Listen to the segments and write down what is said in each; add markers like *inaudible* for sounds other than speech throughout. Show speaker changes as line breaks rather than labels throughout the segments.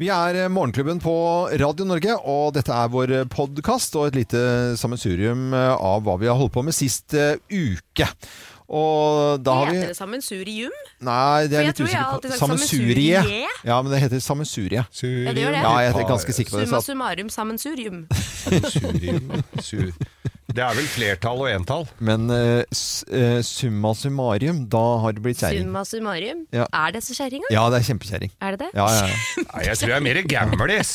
Vi er eh, Morgenklubben på Radio Norge, og dette er vår podkast og et lite sammensurium eh, av hva vi har holdt på med sist eh, uke. Og da har vi
Heter det sammensurium?
Nei, det
For
er
jeg
litt
tror jeg
usikker
alltid
på.
har sagt
Sammensurie.
sammensurie.
Ja, men det heter sammensurie.
Ja, det gjør det.
Ja, jeg er ganske sikker på det.
Summa
Så at,
summarum sammensurium.
Surium, sur. Det er vel flertall og entall.
men eh, s- eh, summa summarium, da har det blitt kjerring.
Summa summarum.
Ja.
Er det så kjerringa?
Ja, det er kjempekjerring.
Er det det?
Ja,
*laughs*
ja, ja.
Nei, jeg tror jeg er mer gamlis.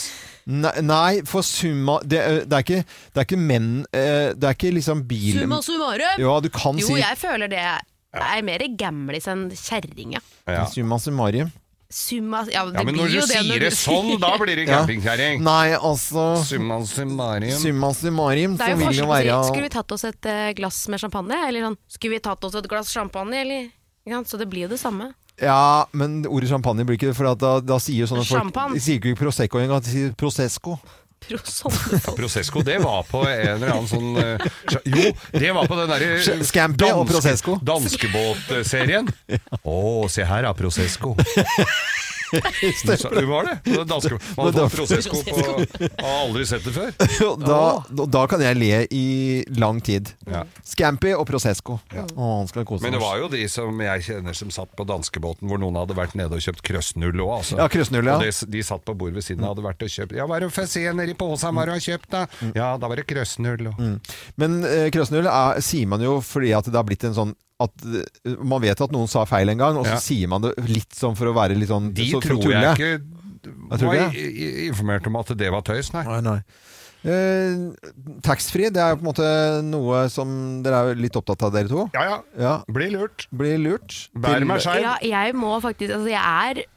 Nei, nei, for summa Det, er- det, er, ikke, det er ikke menn eh, Det er ikke liksom bil...
Summa summarum!
Ja, du kan
Jo,
si
jeg føler det er mer gamlis enn kjerringa.
Ja.
summa summarium.
Summa Ja, det
ja, men
blir
når du
jo det
sier det sånn, da blir det
Ja.
*laughs* campingkjerring.
Nei, altså
Summa summarum.
Summa summarium,
Det er
så
jo
vil det
forskjell
jo
på å si
være
Skulle vi tatt oss et eh, glass med champagne? Eller sånn Skulle vi tatt oss et glass champagne, eller ikke sant? Så det blir jo det samme.
Ja, men ordet champagne blir ikke det, for at da, da sier jo sånne folk
Champagne.
De sier ikke Prosecco engang, de sier
*laughs*
Prosesco.
Pro sånne folk.
Prosesco, det var på en eller annen sånn eh, sja- Jo, det var på den derre eh,
Sk- Scampi og Prosesco.
Danskebåtserien. Å, se her, da.
*laughs*
Prosesco. Så Det var det. det var danske, man
Det var
hadde fått Prosesco på Har aldri sett det før.
Og da, da- da kan jeg le i lang tid.
Ja.
Scampi og Prosesco. Å, han skal kose
Men det
oss.
var jo de som jeg kjenner som satt på danskebåten hvor noen hadde vært nede og kjøpt krøssnull òg, altså.
Ja, krøssnull, ja.
Og de, de satt på bordet ved siden av og hadde vært og kjøpt Ja, hva er det for se nedi posen hva har du kjøpt, da?
Mm.
Ja, da var det krøssnull. Og...
Men eh, krøsnull er, sier man jo fordi at det har blitt en sånn at eh, Man vet at noen sa feil en gang, og så
Ja.
sier man det litt sånn for å være litt sånn
De
så, for å
tror
tulle.
jeg ikke
Jeg tror
var
ikke det.
i- i- informert om at det var tøys, nei.
Nei, nei. Eh, Taxfree, det er jo på en måte noe som dere er jo litt opptatt av, dere to.
Ja ja,
Ja.
bli lurt.
Blir lurt.
Bær meg skeiv.
Ja, jeg må faktisk Altså, jeg er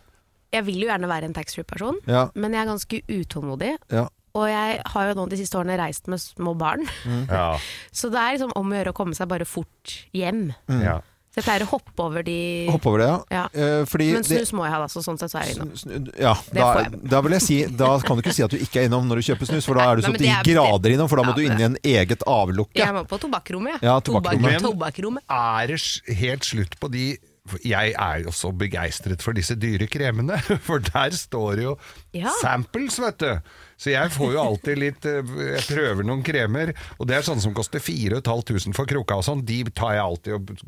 Jeg vil jo gjerne være en taxfree-person,
Ja,
men jeg er ganske utålmodig.
ja.
Og jeg har jo nå de siste årene reist med små barn, *laughs*
Mm.
Ja,
så det er liksom om å gjøre å komme seg bare fort hjem.
Mm.
ja.
Så jeg pleier å hoppe over de
Hopp over det, ja.
Ja.
Eh, fordi
Men
det-
snus må jeg ha, da, så sånn sett så er jeg innom.
snu- snu- ja,
Det
da,
får jeg.
da vil jeg si Da kan du ikke si at du ikke er innom når du kjøper snus, for da er du
Nei,
så
men
til de
det er-
grader innom, for da må
Ja,
du inn i en eget avlukke.
Jeg må på tobakkrommet,
Ja,
Tobakk-
tobakkrommet.
Tobakkrommet.
er det s- helt slutt på de for jeg er jo så begeistret for disse dyre kremene, *laughs* for der står det jo
Ja.
samples, vet du. Så jeg får jo alltid litt eh, Jeg prøver noen kremer, og det er sånne som koster 4500 for krukka og sånn. De tar jeg alltid og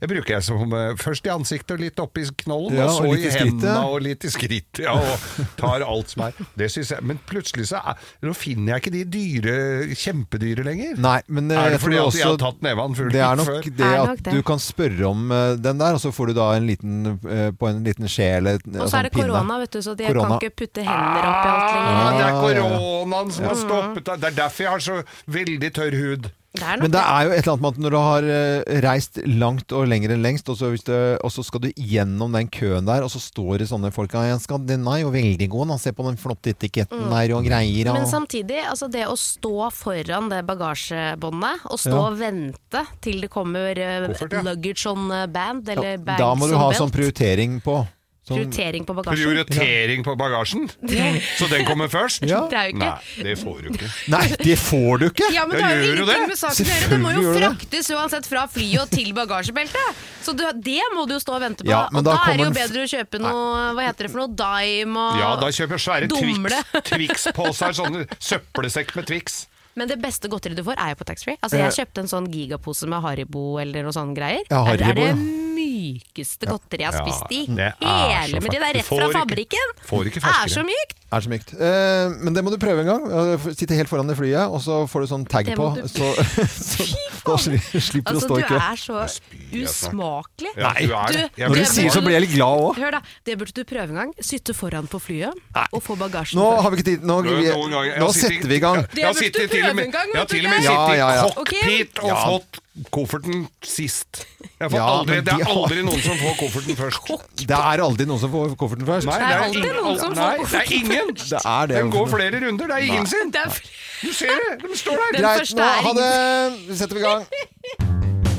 Jeg bruker jeg som eh, først i ansiktet og litt oppi knollen,
Ja,
og så
og litt
i
i skrittet.
hendene og litt i skrittet. Ja, og tar alt som er. Det synes jeg. Men plutselig så er, nå finner jeg ikke de dyre, kjempedyre lenger.
Nei, men eh,
Er det
jeg tror
fordi at jeg har
også
tatt neven før?
det er nok
før?
det
Er
at
nok det.
du kan spørre om eh, den der, og så får du da en liten, eh, på en liten skje eller en
Og så er det korona, vet du, så jeg
sånn Korona.
kan ikke putte hender opp i alt
Ah,
lenger.
det er
Ja, ja, ja.
koronaen som har stoppet deg. Det er derfor jeg har så veldig tørr hud.
Det er nok
Men det
det.
er jo et eller annet med at når du har eh, reist langt og lenger enn lengst, og så, hvis du, og så skal du gjennom den køen der, og så står det sånne folk ja, jeg skal, Den er jo veldig god, nå. se på den flotte etiketten der og greier.
Mm. Men
Og,
samtidig, altså det å stå foran det bagasjebåndet, og
Ja.
stå og vente til det kommer eh,
Koffert, ja.
luggage on band, eller bags
da må du ha
on belt.
sånn prioritering på. Sånn,
prioritering på bagasjen.
Prioritering på bagasjen. Så den kommer først?
Ja.
Det er jo
Nei,
ikke
det får du ikke.
nei, det får du ikke!
*laughs* Ja, men
Jeg
det har jo
gjør jo det.
ingenting med saken å gjøre. Det må
Selvfølgelig
jo
gjør det.
fraktes uansett fra flyet og til bagasjebeltet. Så du, det må du jo stå og vente på.
Ja, men
og
da
da er det
kommer
jo
den f-
bedre å kjøpe noe, hva heter det for noe, Dime og
Ja, da kjøper jeg svære
Ah, Dumle.
Twix- *laughs* Twix-poser. Sånne søppelsekk med Twix.
Men det beste godteriet du får, er jo på taxfree. Altså, jeg kjøpte en sånn gigapose med Haribo eller noe sånn greier.
Ja,
det er
Haribo,
det
ja.
mykeste godteriet jeg har
Ja,
spist i
det er så
hele mitt liv. Det er
fersk-
rett
Du
fra
får ikke-
fabrikken.
får ikke
det er
ferskere.
så
*laughs*
mykt.
Er så mykt. Eh, men det må du prøve en gang. Eh, Sitte helt foran det flyet, og så får du sånn tag
Det
på.
må du-
Så, så, *laughs* da sli- slipper du å
Altså, du
stå i kø.
er så
jeg snart.
usmakelig.
Ja, du er det.
Du-
Når
Jeg
du
blir
det
sier
var-
så blir jeg litt glad òg.
Hør da, Det burde du prøve en gang. Sitte foran på flyet og få bagasjen.
Nå
først.
har vi ikke tid. Nå,
Noen
vi,
ganger- jeg
nå
har sittet-
setter altså, vi i gang.
Jeg har
Det burde
sittet
du
til og
prøve
med,
en gang,
jeg har
vet du
til og med
ikke?
Ja,
sittet
ja,
i
ja.
cockpit og
Ja.
fått kofferten sist. Jeg får
Ja,
aldri,
men
det
de
er
har-
aldri noen som får kofferten først.
Det er aldri noen som får kofferten først.
Nei,
Det er alltid
ingen-
noen som får
nei, det er
kofferten
ingen.
Det er det.
Den går flere runder, det er ingen sin.
Det er
Du ser det, de står *laughs* der.
Den
Greit, nå
første er
ha
ingen.
det. Vi setter vi i gang.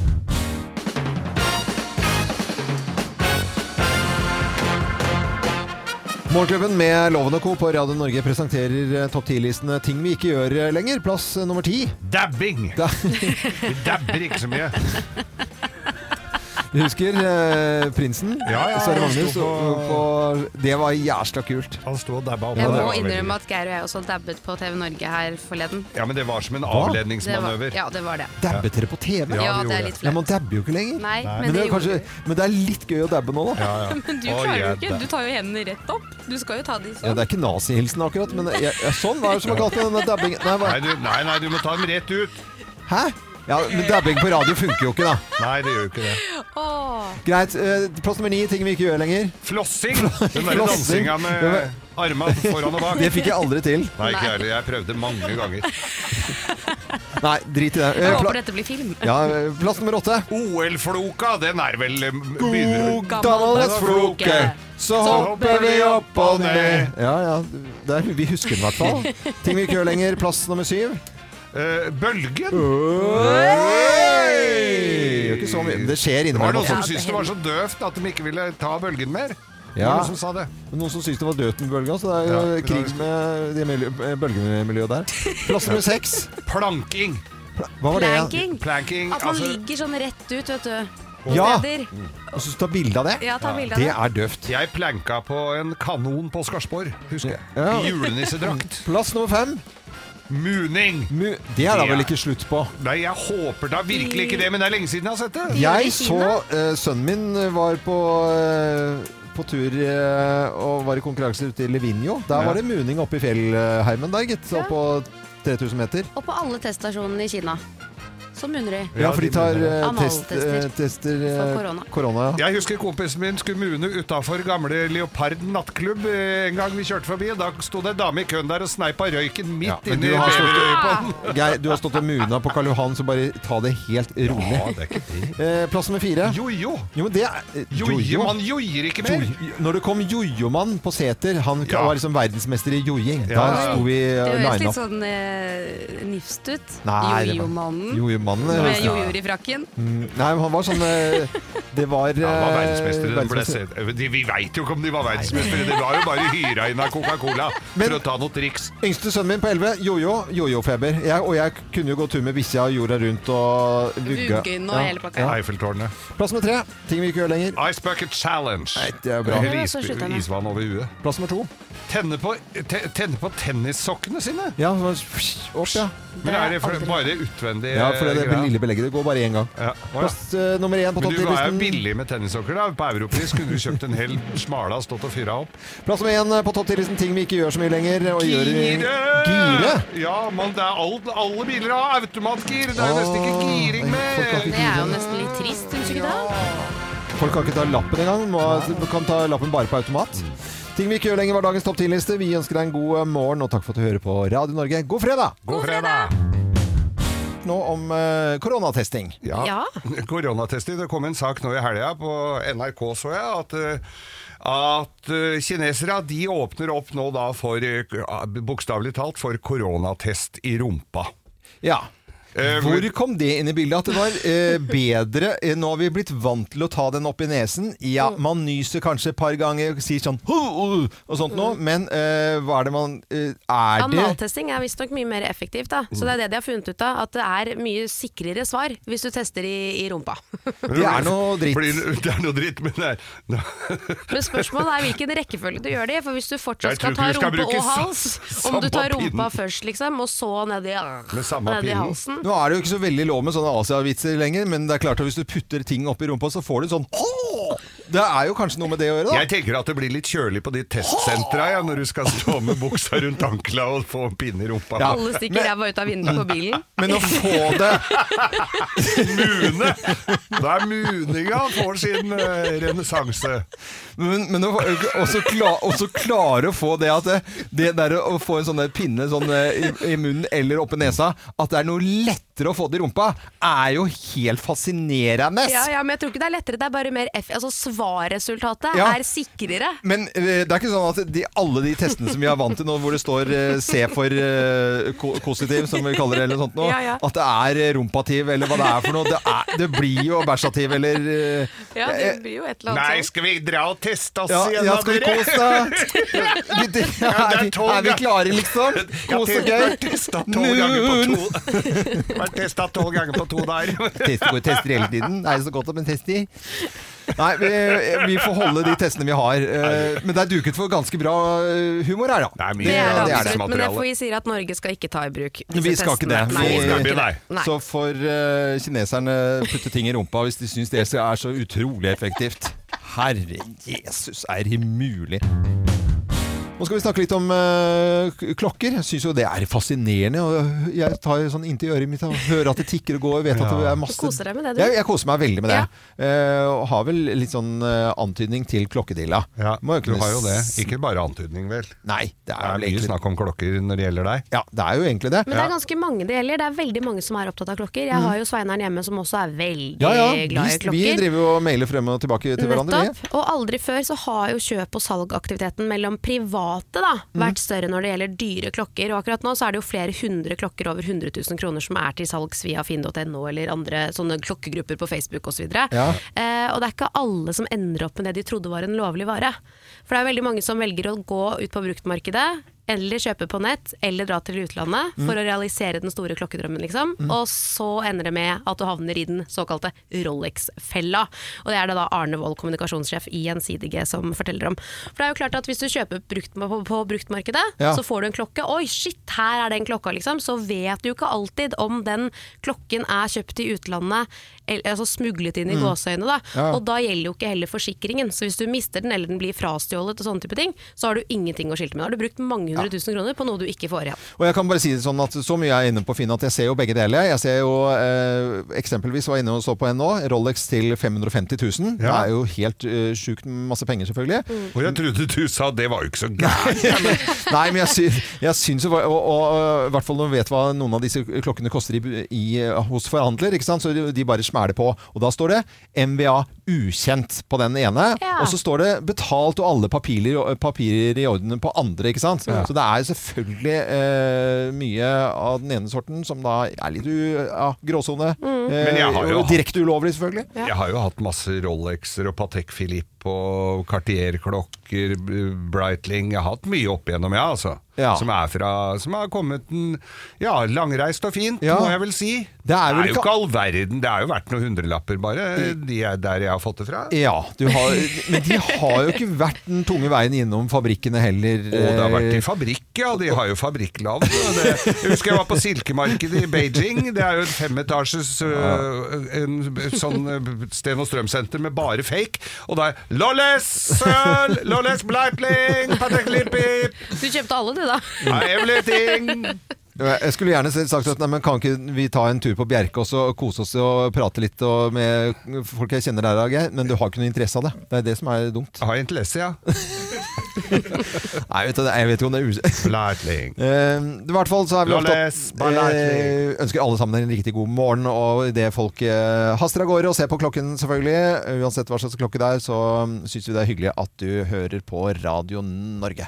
Morgenklubben med Loven og Co. på Radio Norge presenterer eh, topp 10-listene ting vi ikke gjør eh, lenger. Plass eh,
*laughs*
nummer ti.
Dabbing.
Da-
Vi dabber ikke så mye.
Du husker eh, Prinsen?
Ja, ja,
Sverre
han
Magnus.
sto på-
og- og Det var jæsla kult.
Han sto og dabba opp.
Jeg
og det
må
var
innrømme
veldig-
at Geir og jeg også dabbet på TV Norge her forleden.
Ja, men det var som en
Det var,
avledningsmanøver.
ja, det var det.
Dabbet dere på TV?
Ja,
Ja,
vi
det
gjorde
er litt
Nei,
flaut.
man dabber jo ikke lenger.
Nei,
men,
men
det
det
er
gjorde
kanskje, men det er litt gøy å dabbe nå, da.
Ja, ja.
*laughs* Men du
Å,
klarer jo
jeg
ikke.
dab-
Du tar jo hendene rett opp. Du skal jo ta de
Ja,
sånn.
det er ikke nazihilsen akkurat, men jeg, jeg, sånn var det som var galt med denne dabbingen. Nei, hva-
Nei, du, nei, nei, du må ta dem rett ut!
Hæ? Ja, men dabbing på radio funker jo ikke, da.
Nei, det gjør jo ikke det.
Åh.
Greit. Eh, plass nummer ni, ting vi ikke gjør lenger.
Flossing! Den der
Flossing.
dansinga med
Det
arma foran og bak.
Det fikk jeg aldri til.
Nei, ikke jeg heller. Jeg prøvde mange ganger.
Nei, drit i det. Eh,
Jeg håper
pla
dette blir film.
ja, eh, plass nummer åtte.
OL-floka, den er vel eh, begynner
God gammeldags floke, så hopper vi opp og ned. Ja, ja. Der, vi husker den i hvert fall. Ting vi ikke gjør lenger. Plass nummer syv.
Eh, Bølgen!
Oi! Gjør ikke så mye. men Det skjer
Det var
innimellom.
noen som
Ja, det
syntes det var så døvt at de ikke ville ta bølgen mer. Det
Ja.
var Noen som sa det.
Noen som syntes det var Døtenbølga, så det er jo
Ja, det
krig
er-
med det miljø- eh, bølgemiljøet der. Plass nummer seks.
Planking.
Hva var det?
Planking.
Planking.
At man
Altså,
ligger sånn rett ut, vet du.
Ja!
Steder.
Og så ta bilde av det.
Ja, ta bilde av
Det
det.
er døvt.
jeg planka på en kanon på Skarsborg, husker jeg.
Ja.
I julenissedrakt.
Plass nummer fem.
Muning.
Mu det er da vel
Ja.
ikke slutt på.
Nei, jeg håper da virkelig ikke det, men det er lenge siden jeg har sett det.
Jeg
i
så
Kina?
eh, Sønnen min var på, eh, på tur eh, og var i konkurranse ute i Livigno. Der
Ja.
var det muning oppe i fjellheimen der, gitt. Opp på 3000 meter.
Og på alle teststasjonene i Kina. Så munner de.
Ja, for de tar
mener det.
eh, test,
Analtester.
eh, tester
For
eh,
korona.
korona. ja.
Jeg husker kompisen min skulle mune utafor gamle Leopard nattklubb eh, en gang vi kjørte forbi. og Da sto det ei dame i køen der og sneip av røyken midt
Ja, men
inni
du har stått-
beverøyet på den.
Geir, du har stått og muna på Karl Johan, så bare ta det helt rolig.
Ja, det er ikke det.
Eh, plass nummer fire.
Jojo!
Jo, men det er eh,
Joje, man joier ikke mer!
Jo- Når det kom jojomann på seter, han
Ja.
var liksom verdensmester i joing. Da
Ja, ja, ja.
sto vi
Det
eh,
høres
line
litt
up.
sånn eh, nifst ut.
Nei, det var-
Jojo-mannen.
Jojomannen. eh,
sånn Med jojoer i frakken.
Mm, Nei, men han var sånn eh, Det var,
*laughs* Ja, han var
eh,
verdensmester. Den ble
verdensmester.
sett- de, vi veit jo ikke om de var verdensmestere. De var jo bare hyra inn av Coca-Cola
Men-
for å ta noe triks.
Yngste sønnen min på 11, jojo, jojo-feber. Jeg, og jeg kunne jo gå tur med bikkja og jorda rundt og vugge.
Vuggen og hele pakka.
Eiffeltårnet.
Plass nummer tre. Ting vi ikke gjør lenger.
Ice Bucket Challenge.
Nei, det er bra.
Hell
Ja,
is,
så slutta jeg med.
isvann over huet.
Plass nummer to.
Tenne på, te, tenne på tennissokkene sine!
Ja, så var det fsh, opp, ja.
Men er det for,
aldri-
bare utvendig
Ja, for det, er det
greia?
lille belegget. Det går bare én gang.
Ja. Eh, Å, ja.
Plass eh, nummer én på
Men
topp
du var jo
10-listen.
billig med tennissokker da. På europris kunne du kjøpt en hel smala og stått og fyra opp.
Plass nummer én eh, på topp 10-listen. Ting vi ikke gjør så mye lenger. Og gjør i- Gire!
Gire! Ja, men det er alt, alle biler har automatgir. Det er jo nesten
Åh,
ikke giring
folk har
med.
ikke-
Det er jo nesten litt trist, syns du ikke det?
Folk kan ikke ta lappen engang. Må, kan ta lappen bare på automat. Ting vi ikke gjør lenger var dagens topp 10-liste. Vi ønsker deg en god eh, morgen, og takk for at du hører på Radio Norge. God fredag!
God fredag!
Nå om eh, koronatesting.
Ja. *laughs*
Ja.
Koronatester. Det kom en sak nå i helga på NRK, så jeg, at, eh, at eh, kinesere de åpner opp nå da for, eh, bokstavelig talt, for koronatest i rumpa.
Ja.
Eh,
Hvor kom det inn i bildet? At det var eh, bedre eh, Nå har vi blitt vant til å ta den opp i nesen. Ja, man nyser kanskje et par ganger, sier sånn «Hu, uh», og sånt noe, men eh, hva er det man eh, Er det
Analtesting er visstnok mye mer effektivt, da. Så det er det de har funnet ut av. At det er mye sikrere svar hvis du tester i, i rumpa. *laughs*
Det er
*laughs*
noe dritt.
Blir- det er noe dritt, men det er
Men spørsmålet er hvilken rekkefølge du gjør det i. For hvis du fortsatt
Jeg
skal
tror
ta
ikke du skal
rumpe
bruke
og hals,
sa-
om du tar
samme
rumpa
pinnen.
først, liksom, og så ned i,
Med samme
ned i
pinnen.
halsen
Nå er det jo ikke så veldig lov med sånne Asia-vitser lenger, men det er klart at hvis du putter ting opp i rumpa, så får du sånn «Åh!» Det er jo kanskje noe med det å gjøre,
Jeg tenker at det blir litt kjølig på de testsentra ja, når du skal stå med buksa rundt ankla og få en pinne i rumpa.
Ja.
Alle stikker ræva ut av vinduet på bilen.
da. Men å få det
Mune! Da er muninga får sin uh, renessanse.
Men, men å- også, kla, også klare å få det at det, det der å få en sånn der pinne sånn eh, i, i munnen eller oppi nesa, at det er noe lettere å få det i rumpa, er jo helt fascinerende.
*laughs* Ja, ja, men jeg tror ikke det er lettere. Det er bare mer eff altså, svarresultatet
Ja.
er sikrere.
Men eh, det er ikke sånn at de, alle de testene som vi er vant til nå, hvor det står eh, C for eh, ko- positiv, som vi kaller det, eller noe sånt nå,
Ja, ja.
at det er eh, rumpativ, eller hva det er for noe. Det, er, det blir jo bæsjativ, eller eh,
Ja, det blir jo et eller
Nei,
annet sånt.
skal vi dra og teste oss
ja,
igjen,
ja,
da,
skal vi kose deg?
*laughs*
Gutter, Er, vi-
tolv,
er vi
ja.
klare, liksom?
Ja,
Kos og
til-
gøy?
Testa tolv ganger på to. *laughs* vært testa tolv ganger på to dager.
Tester, går, tester hele tiden. Er det så godt om en test i? Nei, vi, vi får holde de testene vi har. eh, Men det er duket for ganske bra eh, humor her, da.
Det er mye
Det er
Ja,
det
det er
absolutt, men
materiale.
FHI sier at Norge skal ikke ta i bruk disse
Vi skal ikke
testene.
det.
Nei, vi skal ikke det. Nei.
Så får eh, kineserne putte ting i rumpa hvis de syns det er så utrolig effektivt. Herre Jesus, er det mulig? Nå skal vi snakke litt om eh, k- klokker. Jeg syns jo det er fascinerende. Og jeg tar sånn inntil øret mitt og hører at det tikker og går. og Vet at det er masse
Du koser deg med det, du.
Jeg, jeg koser meg veldig med det. Eh, og har vel litt sånn eh, antydning til klokkedilla.
Ja,
Må jo
du
kunne
har jo det.
s-
Ikke bare antydning, vel. Det
Nei, det er
er
vel
mye
egentlig
snakk om klokker når det gjelder deg.
Ja, det er jo egentlig det.
Men det er ganske mange det gjelder. Det er veldig mange som er opptatt av klokker. Jeg har jo Sveinaren hjemme som også er veldig
Mm. Ja, ja. Vi,
glad i
vi
klokker.
driver jo og mailer frem og tilbake til hverandre. vi.
Nettopp. Og aldri før så har jo kjøp- og salgaktiviteten mellom private da,
Mm.
vært større når det gjelder dyre klokker. Og akkurat nå så er det jo flere hundre klokker over 100 000 kroner som er til salgs via finn.no eller andre sånne klokkegrupper på Facebook osv.
Ja.
Eh, og det er ikke alle som ender opp med det de trodde var en lovlig vare. For det er veldig mange som velger å gå ut på bruktmarkedet. Eller kjøpe på nett, eller dra til utlandet
Mm.
for å realisere den store klokkedrømmen. liksom. Og så ender det med at du havner i den såkalte Rolex-fella. Og det er det da Arne Wold, kommunikasjonssjef i Gjensidige, som forteller om. For det er jo klart at hvis du kjøper brukt, på, på bruktmarkedet,
Ja.
så får du en klokke. Oi, shit, her er den klokka, liksom. Så vet du ikke alltid om den klokken er kjøpt i utlandet, eller, altså smuglet inn i gåseøyne, da.
Mm. Ja.
Og da gjelder jo ikke heller forsikringen. Så hvis du mister den, eller den blir frastjålet og sånne type ting, så har du ingenting å skilte med. Da har du brukt mange hundre tusen kroner på noe du ikke får igjen.
Og jeg kan bare si det sånn at så mye jeg er inne på Finn at jeg ser jo begge deler. Jeg ser jo eh, eksempelvis var jeg inne og så på en nå. Rolex til 550 000. Det
Ja.
er jo helt eh, sjukt masse penger,
Mm.
selvfølgelig.
Og jeg trodde du sa det var jo ikke
*laughs*
så gærent.
Nei, men jeg, sy jeg syns jo Og, og, og i hvert fall når vi vet hva noen av disse klokkene koster i, bu- i, hos forhandler, ikke sant? så de de bare smæler på. Og da står det MVA ukjent på den ene,
Ja.
og så står det betalt og alle papirer, papirer i orden på andre, ikke sant. Så det er selvfølgelig eh, mye av den ene sorten som da er litt u ja, gråsone. Eh,
Men jeg har jo
og direkte ulovlig, selvfølgelig.
Jeg har jo hatt masse Rolexer og Patek Philippe og Cartier-klokker, b- Breitling Jeg har hatt mye opp igjennom, ja, altså.
Ja.
Som, er fra, som har kommet en, ja, langreist og fint,
Ja.
må jeg vel si.
Det er vel
jo
ikke-
ikke all verden. Det er jo verdt noen hundrelapper, bare. De er der jeg har fått det fra.
Ja, du har, men de har jo ikke vært den tunge veien innom fabrikkene heller.
Og det har vært
eh,
i fabrikk, ja. De har jo fabrikklavn. og det- Jeg husker jeg var på silkemarkedet i Beijing. Det er jo et femetasjes øh, en, sånn øh, Sten og Strøm-senter med bare fake. Og det er Lolles Søl! Lolles Bleitling! Patek Lippi!
Du kjøpte alle, du da.
Everything!
Jeg skulle gjerne sagt at nei, men kan ikke vi ta en tur på Bjerke også, og kose oss og prate litt og med folk jeg kjenner der, Geir? Men du har ikke noe interesse av det. Det er det som er dumt.
Har interesse, ja.
Nei, vet du, jeg vet ikke om det er *laughs* us...
Bleitling.
Eh, I hvert fall så er vi opptatt
Lolles, Balati.
Eh, Ønsker alle sammen en riktig god morgen. Og idet folk eh, haster av gårde og ser på klokken, selvfølgelig, uansett hva slags klokke det er, så mm, syns vi det er hyggelig at du hører på Radio Norge.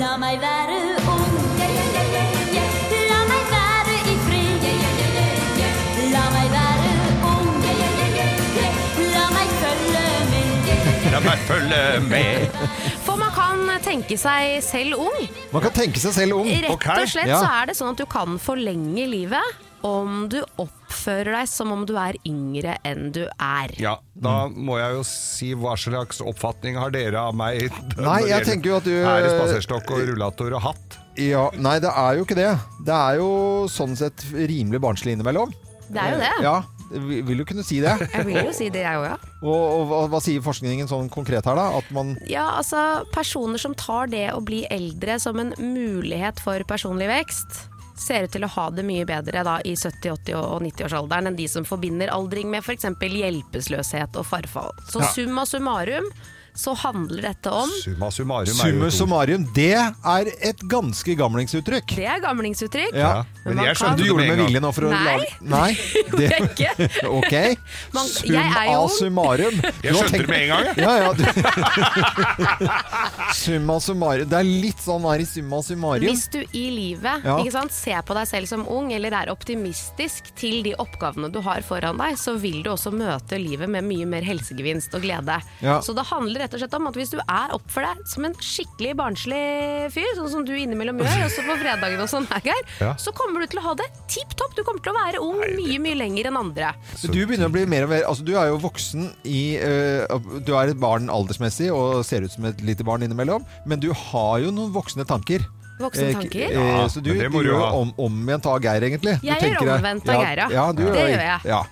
La meg være ung. Ja, ja, ja, ja, ja, ja. La meg være i fred. Ja, ja, ja, ja, ja. La meg være ung. Ja, ja, ja, ja, ja. La meg følge med. Ja, ja, ja.
La meg følge med.
For man kan tenke seg selv ung.
Man kan tenke seg selv ung.
Rett
Ok.
og slett
Mm, Ja.
så er det sånn at du kan forlenge livet om du oppfører deg som om du er yngre enn du er.
Ja, da må jeg jo si hva slags oppfatning har dere av meg?
Nei, jeg tenker jo at du-
Er det spaserstokk og rullator og hatt?
Ja, nei, det er jo ikke det. Det er jo sånn sett rimelig barnslig innimellom.
Det er jo det.
Ja, vi- vil jo kunne si det.
Jeg vil jo si det, jeg òg, ja.
Og, og hva, hva sier forskningen sånn konkret her, da? At man
Ja, altså Personer som tar det å bli eldre som en mulighet for personlig vekst, ser ut til å ha det mye bedre da i 70-, 80- og 90-årsalderen enn de som forbinder aldring med f.eks. hjelpeløshet og forfall. Så summa summarum så handler dette om
Summa summarum er jo
Summe
to.
summarium, det er et ganske gamlingsuttrykk.
Det er gamlingsuttrykk.
Ja.
Men man kan-
Du gjorde det med
en gang.
vilje nå for å
Nei.
lage Nei.
*laughs* Gjorde jeg ikke?
Ok.
*laughs* Man- jeg
Summa
er jo-
summarum. Du
Jeg
har
skjønte
tenkt-
det med en gang, jeg.
Ja, ja. Du... *laughs* summa summarum. Det er litt sånn her i summa summarum.
Hvis du i livet
Ja.
ikke sant, ser på deg selv som ung, eller er optimistisk til de oppgavene du har foran deg, så vil du også møte livet med mye mer helsegevinst og glede.
Ja.
Så det handler rett og slett om at hvis du er oppfor deg som en skikkelig barnslig fyr, sånn som du innimellom
*laughs*
gjør, også på fredagen og sånn, her, Geir,
Ja.
så kommer du til å ha det tipp topp. Du kommer til å være ung mye, mye lenger enn andre.
Du begynner å bli mer og mer Altså, du er jo voksen i eh, Du er et barn aldersmessig og ser ut som et lite barn innimellom, men du har jo noen voksne tanker.
Voksne
Eh,
tanker?
eh,
Ja,
så du,
men det må
du
du
gjør
ha.
om, om igjen ta Geir, egentlig. Du
Jeg
tenker
gjør
deg-
omvendt av Geir, ja.
du
Det gjør jeg.
Ja.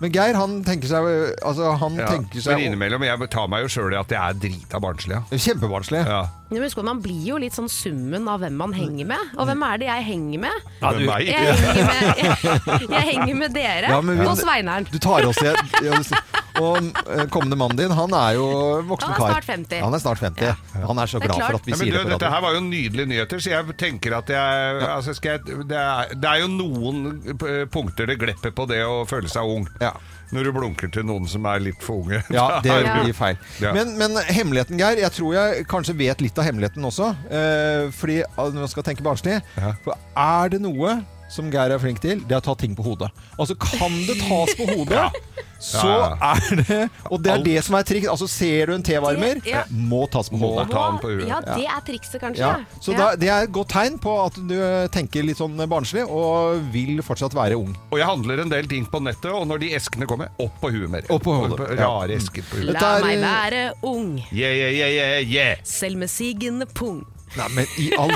Men Geir, han tenker seg Altså, han
Ja.
tenker
Men
seg
innimellom, jeg tar meg jo sjøl i at jeg er drita barnslig. ja.
Kjempebarnslig.
Ja.
Men husk at man blir jo litt sånn summen av hvem man henger med.
Mm.
Og hvem er det jeg henger med?
Men meg?
Jeg henger med, *laughs* jeg, henger med dere
Ja, men vi-
og Sveineren.
Du tar oss i ja, du- Og eh, kommende mannen din, han er jo voksen
Han er
kar.
snart 50.
Han er snart 50. Han er så
Det er
glad
klart.
for at vi
Ja, men
sier
du,
det på
dette
radio.
her var jo nydelige nyheter, så jeg tenker at jeg, altså skal jeg det, er, det er jo noen eh, punkter det glepper på det å føle seg ung.
Ja.
Når du blunker til noen som er litt for *laughs* unge.
Ja, det
Ja.
blir feil.
Ja.
Men, men hemmeligheten, Geir, jeg tror jeg kanskje vet litt av hemmeligheten også. Eh, fordi ah, når man skal tenke barnslig
Ja.
For er det noe som Geir er flink til, det er å ta ting på hodet. Altså, kan det tas på hodet, så
*laughs* Ja,
er det Og det er
Alt.
det som er triks. Altså, ser du en tevarmer,
Det- ja.
må tas på
Må
hodet.
ta den på huet.
Ja, det er trikset, kanskje.
Ja, så da, det er et godt tegn på at du tenker litt sånn barnslig og vil fortsatt være ung.
Og jeg handler en del ting på nettet, og når de eskene kommer, opp på huet mer.
Opp på hodet, ja.
Rare esker på huet.
dette
La
er-
meg være ung,
Yeah, yeah, yeah, yeah, yeah.
selv med sigende pung.
Nei, men i *laughs* all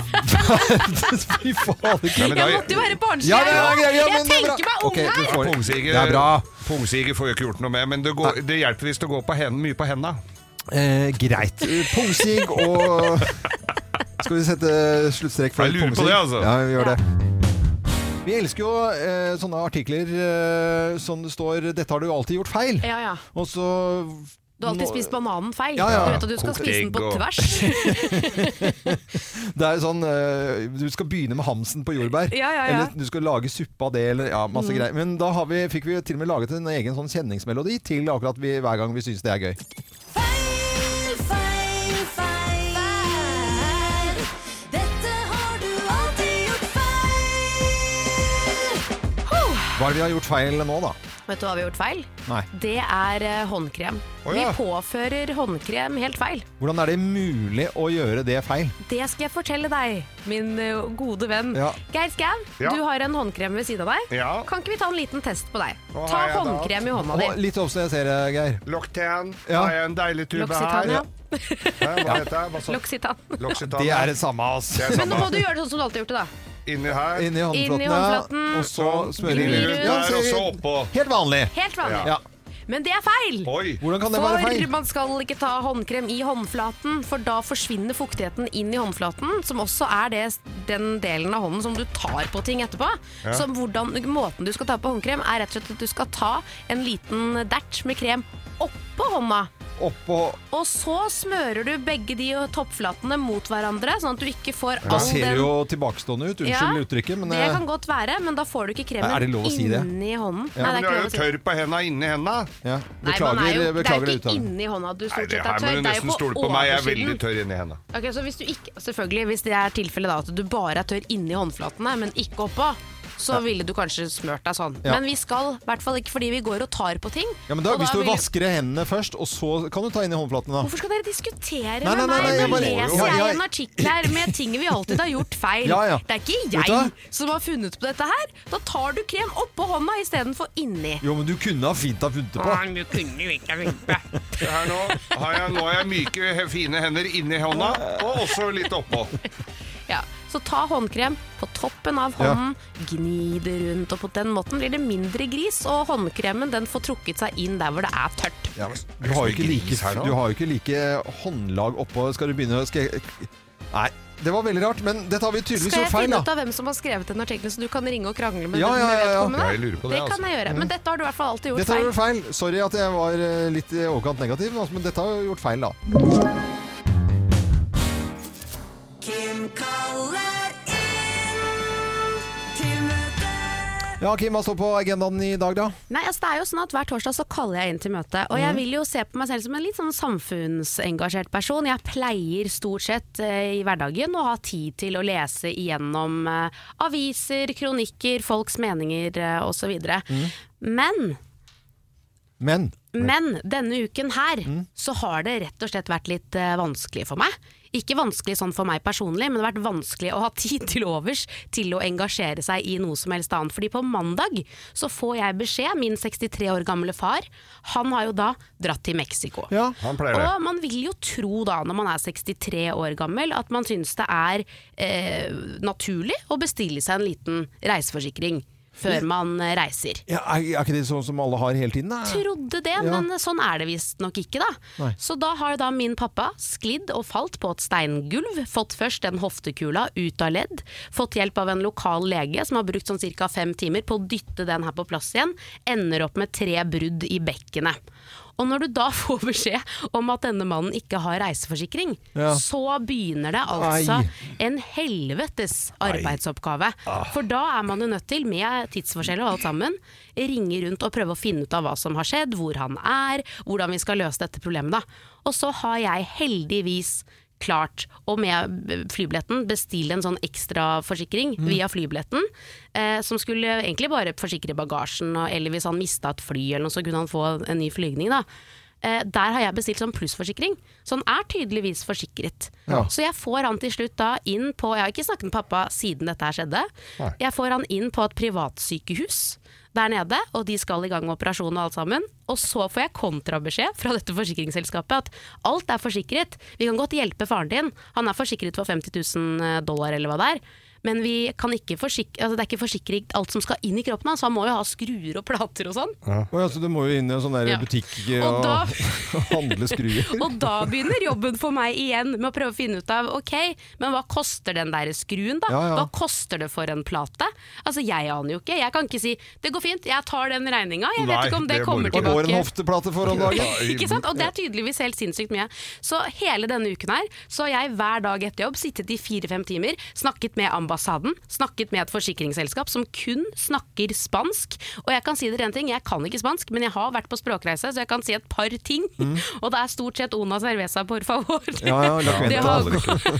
verden! Fy
Ja,
fader.
men da-
Jeg måtte jo være barnslig!
Ja, det er greit, ja,
jeg
men det er bra.
tenker meg ung
Ok, du
her!
får- Det
Pungsiger,
er bra.
pungsiger får jo ikke gjort noe med, men det, går, det hjelper hvis det går på hen, mye på henda.
Eh, greit. Pungsig og Skal vi sette sluttstrek for
Jeg lurer på
pungsig?
det, altså.
Ja, vi gjør det. Vi elsker jo eh, sånne artikler eh, som det står 'Dette har du alltid gjort feil'.
Ja, ja.
Og så
Du har alltid spist bananen feil.
Ja, ja.
Du vet at du skal
Kokt
spise den på
egg og-
tvers.
*laughs* Det er sånn eh, Du skal begynne med hamsen på jordbær.
Ja, ja, Mm. ja.
Eller du skal lage suppe av det, eller ja, masse greier. Men da har vi, fikk vi til og med laget en egen sånn kjenningsmelodi til akkurat vi, hver gang vi syns det er gøy.
Feil, feil, feil. Dette har du alltid gjort feil.
Hva er det vi har gjort feil nå, da?
Vet du hva vi har gjort feil?
Nei.
Det er eh, håndkrem.
Å, ja.
Vi påfører håndkrem helt feil.
Hvordan er det mulig å gjøre det feil?
Det skal jeg fortelle deg, min eh, gode venn.
Ja.
Geir Skau,
Ja.
du har en håndkrem ved siden av deg.
Ja.
Kan ikke vi ta en liten test på deg?
Hva
ta
har jeg da?
håndkrem i hånda
Å,
di.
litt obs, jeg ser det, Geir.
Locktan,
Ja.
har jeg en deilig tube her.
L'Occitania.
Hæ, Hva heter det? Hva sa-
L'Occitania.
*laughs* L'Occitania.
Det er det samme, ass.
Det er
Men nå må
samme.
du gjøre det sånn som du alltid har gjort det, da.
Inni her.
Inni håndflaten,
Inni
ja.
håndflaten.
og så smører vi
Inni
rundt.
rundt.
Ja,
Der, og så oppå.
Helt vanlig.
Helt vanlig.
Ja.
Men det er feil!
Oi.
Hvordan kan det være
For
feil?
man skal ikke ta håndkrem i håndflaten, for da forsvinner fuktigheten inn i håndflaten, som også er det, den delen av hånden som du tar på ting etterpå. Så hvordan, måten du skal ta på håndkrem, er rett og slett at du skal ta en liten dert med krem oppå hånda.
Oppå
Og så smører du begge de toppflatene mot hverandre, sånn at du ikke får
Da
all
ser
den
du jo tilbakestående ut. Unnskyld uttrykket, men
det
eh,
kan godt være, men da får du ikke kremen
Er det lov å si det?
inni hånden.
Ja,
Nei,
Men
det er
du er
ikke
jo
lov å si.
tørr på henda inni henda.
ja.
Nei, man
Beklager, eh,
er jo,
beklager
det er jo ikke
uttalen.
inni hånda du
Nei,
stort
det
sett er
her må
tørr. Det
du
er jo
nesten
på
stole på meg. Jeg er veldig
oversiden.
tørr inni henda.
Ok, så hvis du ikke, selvfølgelig, hvis det er tilfellet da at du bare er tørr inni håndflatene, men ikke oppå, så ville du kanskje smørt deg sånn.
Ja.
Men vi skal, i hvert fall ikke fordi vi går og tar på ting.
Ja, men da,
og
hvis du
vil-
vasker hendene først, og så kan du ta inn i håndflaten, da.
Hvorfor skal dere diskutere
Nei, nei,
med
nei,
meg?
nei,
Nå
jeg bare-
leser
jeg-
jeg
jeg-
en artikkel her med ting vi alltid har gjort feil.
Ja, ja.
Det er ikke
Vet du hva?
jeg som har funnet på dette her. Da tar du krem oppå hånda istedenfor inni.
Jo, men du kunne ha fint ha funnet det på.
Se Her nå, har jeg, nå har jeg myke, he- fine hender inni hånda, og også litt oppå.
Ja. Så ta håndkrem på toppen av
Ja.
hånden, gni det rundt, og på den måten blir det mindre gris, og håndkremen den får trukket seg inn der hvor det er tørt.
Ja, men du, har jo ikke like,
Gris her nå.
du har jo ikke like eh, håndlag oppå. Skal du begynne å skal jeg- Nei, det var veldig rart, men dette har vi tydeligvis
Skal jeg
gjort feil,
finne ut
da.
av hvem som har skrevet den artikkelen, så du kan ringe og krangle med
Ja,
den
ja, ja, ja.
vedkommende?
Jeg lurer på det,
det kan
altså.
jeg gjøre. Men dette har du i hvert fall alltid gjort
Dette har vi
feil.
gjort feil. Sorry at jeg var eh, litt i overkant negativ, altså, men dette har vi gjort feil, da.
Kim kaller inn til møte.
Ja, Kim, hva står på agendaen i dag, da?
Nei, altså det er jo sånn at Hver torsdag så kaller jeg inn til møte. Og jeg vil jo se på meg selv som en litt sånn samfunnsengasjert person. Jeg pleier stort sett eh, i hverdagen å ha tid til å lese igjennom eh, aviser, kronikker, folks meninger eh, osv. Men
Men
Men denne uken her
Mm.
så har det rett og slett vært litt eh, vanskelig for meg. Ikke vanskelig sånn for meg personlig, men det har vært vanskelig å ha tid til overs til å engasjere seg i noe som helst annet. Fordi på mandag så får jeg beskjed, min 63 år gamle far, han har jo da dratt til Mexico.
Ja.
Han pleier det.
Og man vil jo tro da, når man er 63 år gammel, at man syns det er eh, naturlig å bestille seg en liten reiseforsikring før man eh, reiser.
Ja, er, er ikke det sånn som alle har hele tiden? da?
Trodde det,
Ja.
men sånn er det visstnok ikke, da.
Nei.
Så da har da min pappa sklidd og falt på et steingulv. Fått først en hoftekula ut av ledd. Fått hjelp av en lokal lege som har brukt sånn ca. fem timer på å dytte den her på plass igjen. Ender opp med tre brudd i bekkenet. Og når du da *laughs* får beskjed om at denne mannen ikke har reiseforsikring,
Ja.
så begynner det altså
Ai.
en helvetes arbeidsoppgave. For da er man jo nødt til, med tidsforskjell og alt sammen, ringe rundt og prøve å finne ut av hva som har skjedd, hvor han er, hvordan vi skal løse dette problemet. da. Og så har jeg heldigvis klart å med flybilletten bestille en sånn ekstra forsikring via flybilletten, eh, som skulle egentlig bare forsikre bagasjen, og- eller hvis han mista et fly eller noe, så kunne han få en ny flygning, da. Eh, der har jeg bestilt sånn plussforsikring, så han er tydeligvis forsikret.
Ja.
Så jeg får han til slutt da inn på Jeg har ikke snakket med pappa siden dette her skjedde.
Nei.
Jeg får han inn på et privatsykehus der nede, og de skal i gang med operasjon og alt sammen. Og så får jeg kontrabeskjed fra dette forsikringsselskapet at alt er forsikret. Vi kan godt hjelpe faren din, han er forsikret for 50 000 dollar eller hva det er. Men vi kan ikke forsik altså, det er ikke forsikret alt som skal inn i kroppen hans, så han må jo ha skruer og plater og sånn.
Å ja, så du må jo inn i en sånn der
Ja.
butikk
Og
og, *laughs*
da-
handle skruer.
Og da begynner jobben for meg igjen med å prøve å finne ut av ok, men hva koster den der skruen da?
Ja, ja.
Hva koster det for en plate? Altså jeg aner jo ikke, jeg kan ikke si det går fint, jeg tar den regninga, jeg
Nei,
vet ikke om det,
det må du
kommer
ikke.
Hva går en
tilbake.
hofteplate for om dagen?
Ikke sant? Og det er tydeligvis helt sinnssykt mye. Så hele denne uken her, så har jeg hver dag etter jobb sittet i fire-fem timer, snakket med ambassaden, snakket med et forsikringsselskap som kun snakker spansk. Og jeg kan si dere en ting, jeg kan ikke spansk, men jeg har vært på språkreise, så jeg kan si et par ting. *laughs* Og det er stort sett una cerveza, por favor.
Ja, ja, la
det,
cuenta.
har,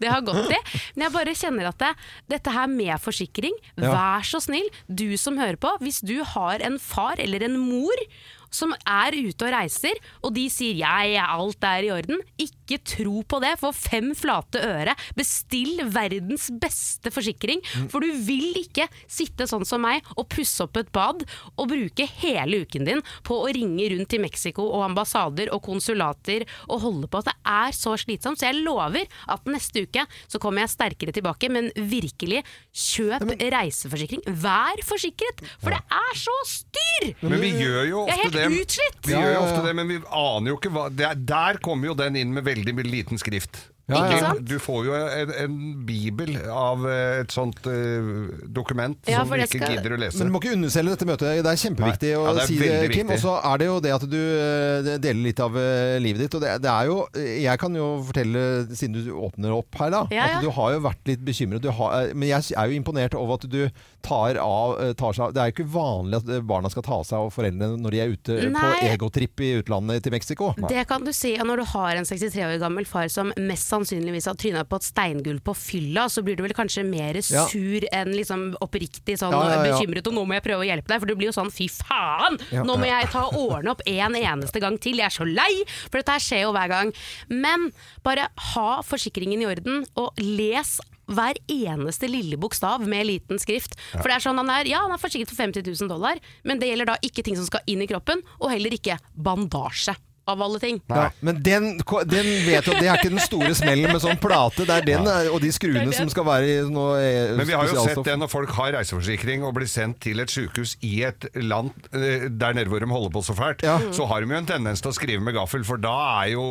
det har gått *laughs* i. Men jeg bare kjenner at det, dette her med forsikring,
Ja.
vær så snill, du som hører på, hvis du har en far eller en mor som er ute og reiser, og de sier 'jeg, alt er i orden', ikke tro på det. For fem flate øre, bestill verdens beste forsikring.
Mm.
For du vil ikke sitte sånn som meg og pusse opp et bad og bruke hele uken din på å ringe rundt til Mexico og ambassader og konsulater og holde på. Det er så slitsomt. Så jeg lover at neste uke så kommer jeg sterkere tilbake, men virkelig, kjøp reiseforsikring. Vær forsikret, for det er så styr!
Men vi gjør jo
Jeg er helt
ofte det.
utslitt.
Vi
Ja,
gjør jo
ja, ja.
ofte det, men vi aner jo ikke hva det er, Der kommer jo den inn med veldig liten skrift.
Ja,
Ikke
ja.
sant?
Du får jo en, en bibel av eh, et sånt eh, dokument
Ja,
som
for
du
det
ikke
skal-
gidder å lese.
Men du må ikke underselge dette møtet. Det er kjempeviktig
Nei.
å
Ja, det er
si det,
veldig
Kim.
viktig.
Og så er det jo det at du eh, deler litt av eh, livet ditt. Og det, det er jo Jeg kan jo fortelle, siden du åpner opp her, da,
Ja, ja.
at du har jo vært litt bekymret. Du har, eh, men jeg er jo imponert over at du tar, av, eh, tar seg av Det er jo ikke vanlig at eh, barna skal ta seg av foreldrene når de er ute på
Nei.
egotripp i utlandet til Mexico.
Det kan du si, og når du har en 63 år gammel far som mest sannsynligvis har tryna på et steingulv på fylla, så blir du vel kanskje mer
Ja.
sur enn liksom oppriktig sånn
Ja, ja, ja.
bekymret, og nå må jeg prøve å hjelpe deg, for du blir jo sånn fy faen,
Ja.
nå må jeg ta og ordne opp en eneste gang til, jeg er så lei, for dette her skjer jo hver gang. Men bare ha forsikringen i orden, og les hver eneste lille bokstav med liten skrift. For det er sånn han er, ja han er forsikret for 50 000 dollar, men det gjelder da ikke ting som skal inn i kroppen, og heller ikke bandasje, av alle ting.
Ja, men den, den vet jo, det er ikke den store smellen med sånn plate. Det er den eh, og de skruene som skal være i noe eh,
Men vi har jo sett
spesialstoff.
det når folk har reiseforsikring og blir sendt til et sykehus i et land eh, der nede hvor de holder på så fælt,
Ja.
så har de jo en tendens til å skrive med gaffel, for da er jo,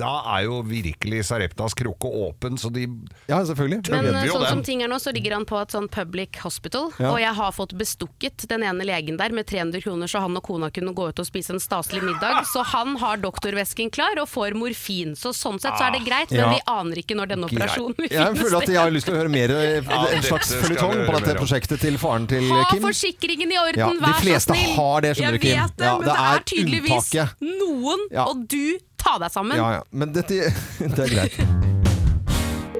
da er jo virkelig Sareptas krukke åpen, så de
Ja, selvfølgelig.
Men
vet vi
eh,
jo
sånn
den.
som ting er nå, så ligger han på et sånn public hospital,
Ja.
og jeg har fått bestukket den ene legen der med 300 kroner, så han og kona kunne gå ut og spise en staselig
*gasps*
middag. Så han har doktorvesken klar og får morfin, så sånn sett så er det greit, men
Ah. Ja.
vi aner ikke når denne operasjonen vil
Jeg
finne
føler at
sted.
jeg har lyst til å høre mer eh, en
dette
slags
skal vi
føljetong på
høre
dette
mer om.
prosjektet til faren til eh,
Ha
Kim.
forsikringen i orden,
Ja, de
vær så snill!
fleste har det, skjønner du, Kim.
Jeg vet det,
Ja,
men
det
det
er
er, tydeligvis
unntaket.
noen,
Ja.
og du, ta deg sammen!
Ja, ja. Men dette *laughs* det er greit.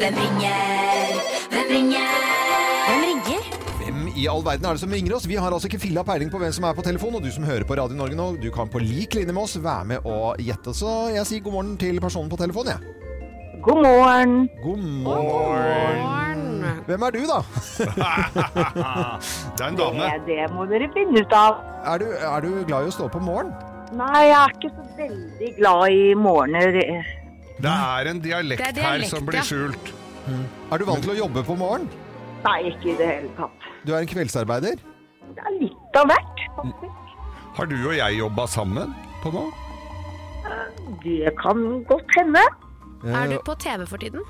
Hvem ringer? Hvem ringer? Hvem ringer?
Hvem i all all verden er det som ringer oss? Vi har altså ikke filla peiling på hvem som er på telefon, og du som hører på Radio Norge nå, du kan på lik linje med oss være med og gjette. Så jeg sier god morgen til personen på telefonen, jeg.
God morgen.
God morgen.
Mm.
Hvem er du, da?
Det er en
Det,
dame.
det må dere finne ut av.
Er du, er du glad i å stå opp om morgenen?
Nei, jeg er ikke så veldig glad i morgener.
Det er en dialekt,
Det er
her
dialekt,
som
ja.
blir skjult.
Er du vant til å jobbe på morgenen?
Nei, ikke i det hele tatt.
Du er en kveldsarbeider?
Det er litt av hvert, faktisk.
Har du og jeg jobba sammen på nå?
Det kan godt hende.
Er
Eh,
du på TV for tiden?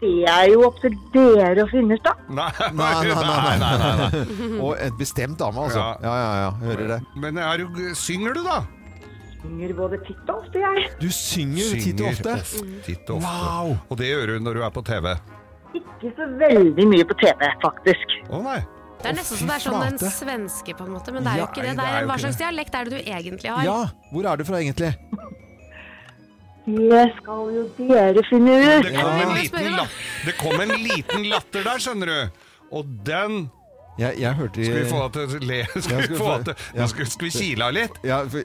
Det er jo opp til dere å finne ut av.
*laughs* Nei,
Nei, nei, nei,
nei, nei, nei.
Og et bestemt dame, altså.
Ja.
Ja, ja, ja. Hører det.
Men er du, synger du, da?
Synger både titt og ofte, jeg.
Du synger titt og ofte.
ofte. Titt og ofte.
Wow!
Og det gjør du når du er på TV. Å
Ikke så veldig mye på TV, faktisk.
nei.
Det er nesten
fy
som det er sånn
flate.
en svenske, på en måte, men det er jo
Ja,
ikke det.
det
det
er
er
jo
Hva
ikke
slags dialekt er det du egentlig har?
Ja, hvor er du fra egentlig?
Det skal jo dere finne ut.
Det kom,
Ja.
en
Ja.
liten la- det kom en liten latter der, skjønner du. Og den
Jeg, jeg hørte
Skal vi få deg til å le? Skal
skal
vi
vi
få
få-
deg til
ja.
Nå skal, skal vi kile av litt?
ja, for...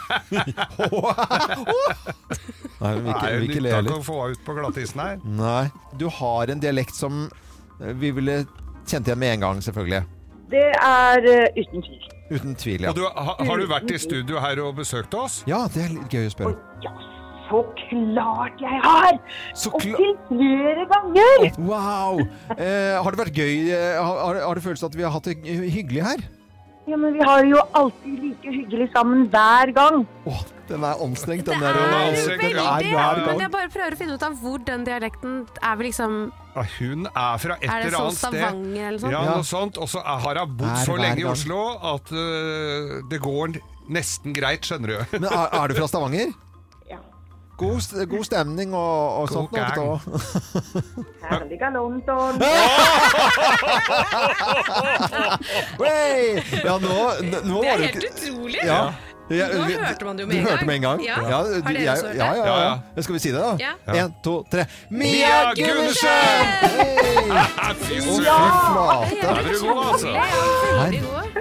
*laughs* Nei, vi vil ikke,
Nei,
vi vil ikke
nytta
le
ikke
heller.
å få henne ut på glattisen her.
Nei. Du har en dialekt som eh, vi ville kjent igjen med en gang, selvfølgelig.
Det er eh, uten tvil.
Uten tvil, ja.
Og du, ha, har du vært i studio her og besøkt oss?
Ja, det er litt gøy å spørre.
Ja, så klart jeg har!
Så
Og
kla-
til flere ganger!
Wow! Eh, har det vært gøy? eh, Har, har det føltes at vi har hatt det hyggelig her?
Ja, men vi har det jo alltid like hyggelig sammen hver gang.
Åh, den er anstrengt, den
Det
der.
er jo
altså, det er
veldig
hver gang.
Men jeg bare prøver å finne ut av hvor den dialekten er vel liksom
Ja, Hun er fra et
Er det
eller
sånn
annet sted.
Stavanger eller
Ja,
sånn?
Ja.
noe sånt. Og så er- har hun bodd
Er
så
hver
lenge i
gang.
Oslo at øh, det går nesten greit, skjønner du. *laughs*
Men er, er du fra Stavanger?
Ja.
God, st- god stemning og, og sånt.
gang.
noe da.
Herlig galont
*laughs*
og
Wey! Ja, nå, n- nå
Det
var
er
du
helt
ikke
utrolig!
ja. Ja,
Nå
vi-
hørte man det jo
du
med en
hørte
gang.
Med en gang.
Ja.
Ja,
Har
du-
dere
jeg-
også hørt det?
Ja, ja,
Ja,
ja. Skal vi si det, da?
Ja.
En, to, tre.
Mia Gundersen!
Hey!
Nei, Fy
Å, fy
søren!
flate!
Er du god, altså?
Ja, veldig god.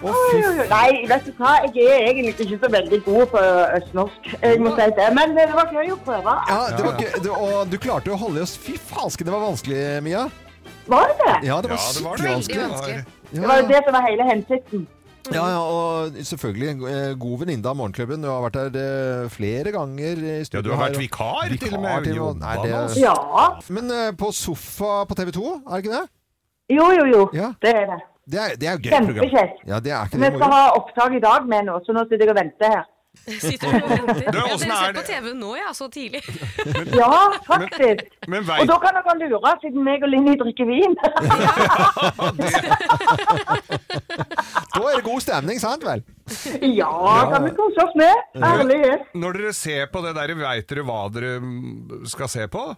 Å, fy f-
Nei, vet du hva, jeg er egentlig ikke så veldig god på østnorsk, jeg må si det. Men eh, det var gøy å prøve.
ja, det var gøy. Du, og du klarte å holde oss Fy falske, det var vanskelig, Mia.
Var det det?
Ja, det var
Ja, det var
skikkelig
det.
vanskelig.
vanskelig.
Det var jo det som var hele hensikten.
Ja, ja, og selvfølgelig eh, god venninne av Morgenklubben. Du har vært her eh, flere ganger i
Ja,
studio.
du har vært
her, og-
vikar, til og
Vikar
med.
til og med. Nei,
Jobba
det-
med oss.
Ja.
Men eh, på sofa på TV 2, er det ikke det?
Jo, jo, jo.
Ja.
Det er det.
Det er, det er jo gøy program.
Kjempekjekt.
Ja, det er ikke
Vi
det
skal
moro.
ha opptak i dag med nå, så nå sitter jeg og venter her.
Sitter du og venter?
Du,
Ja,
åssen
dere
er
ser
det?
på TV nå, ja, så tidlig.
Ja, faktisk.
Men
Og
veit
da kan dere lure, siden meg og Linni drikker
*laughs*
vin.
Da er det god stemning, sant vel?
Ja, kan vi kose oss med. Ærlighet.
Når dere ser på det der, veit dere hva dere mm, skal se på?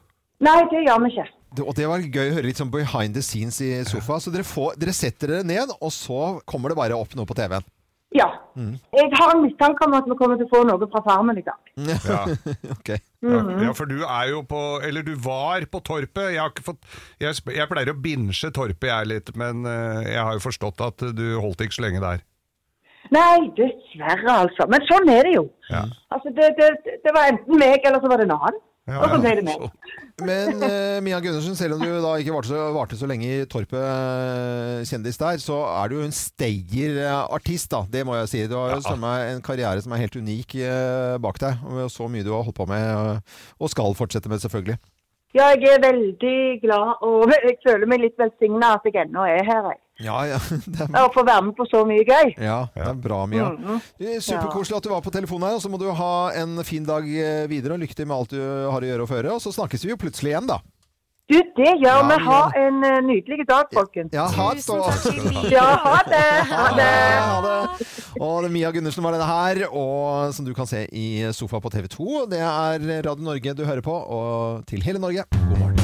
Nei, det gjør vi ikke.
Det, og det var gøy å høre litt sånn behind the scenes i sofa. Så dere, får, dere setter dere ned, og så kommer det bare opp noe på TV-en.
Ja.
Mm.
Jeg har en mistanke om at vi kommer til å få noe fra farmen i dag.
Ja.
*laughs* Ok.
*laughs* Ja, ja, for du er jo på Eller du var på Torpet. Jeg, har ikke fått, jeg, sp- jeg pleier å binche Torpet, jeg litt, men eh, jeg har jo forstått at du holdt ikke så lenge der.
Nei, dessverre, altså. Men sånn er det jo.
Ja.
Altså, det, det, det var enten meg, eller så var det en annen.
Ja,
og så ble
ja,
det meg.
sånn.
Men eh, Mia Gundersen, selv om du da ikke varte så, varte så lenge i Torpet eh, kjendis der, så er du jo en stayer eh, artist, da. Det må jeg si. Du har jo samme en karriere som er helt unik eh, bak deg. Og så mye du har holdt på med, eh, og skal fortsette med, selvfølgelig.
Ja, jeg er veldig glad, og *laughs* jeg føler meg litt velsigna at jeg ennå er her. Jeg.
Ja, ja. *laughs* Det er
Og får være med på så mye gøy.
Ja, det er bra, Mia.
Mm,
Eh, Superkoselig at du var på telefonen her. Og så må du ha en fin dag eh, videre, og lykke til med alt du har å gjøre og føre. Og så snakkes vi jo plutselig igjen, da.
Du, det gjør vi.
men-
Ha en eh, nydelig dag, folkens.
Ja, ha det.
Tusen takk i like
Ja, ha det. Ha det.
Ha det. Og det er Mia Gundersen var denne her, og som du kan se i sofa på TV 2. Det er Radio Norge du hører på, og til hele Norge, god morgen.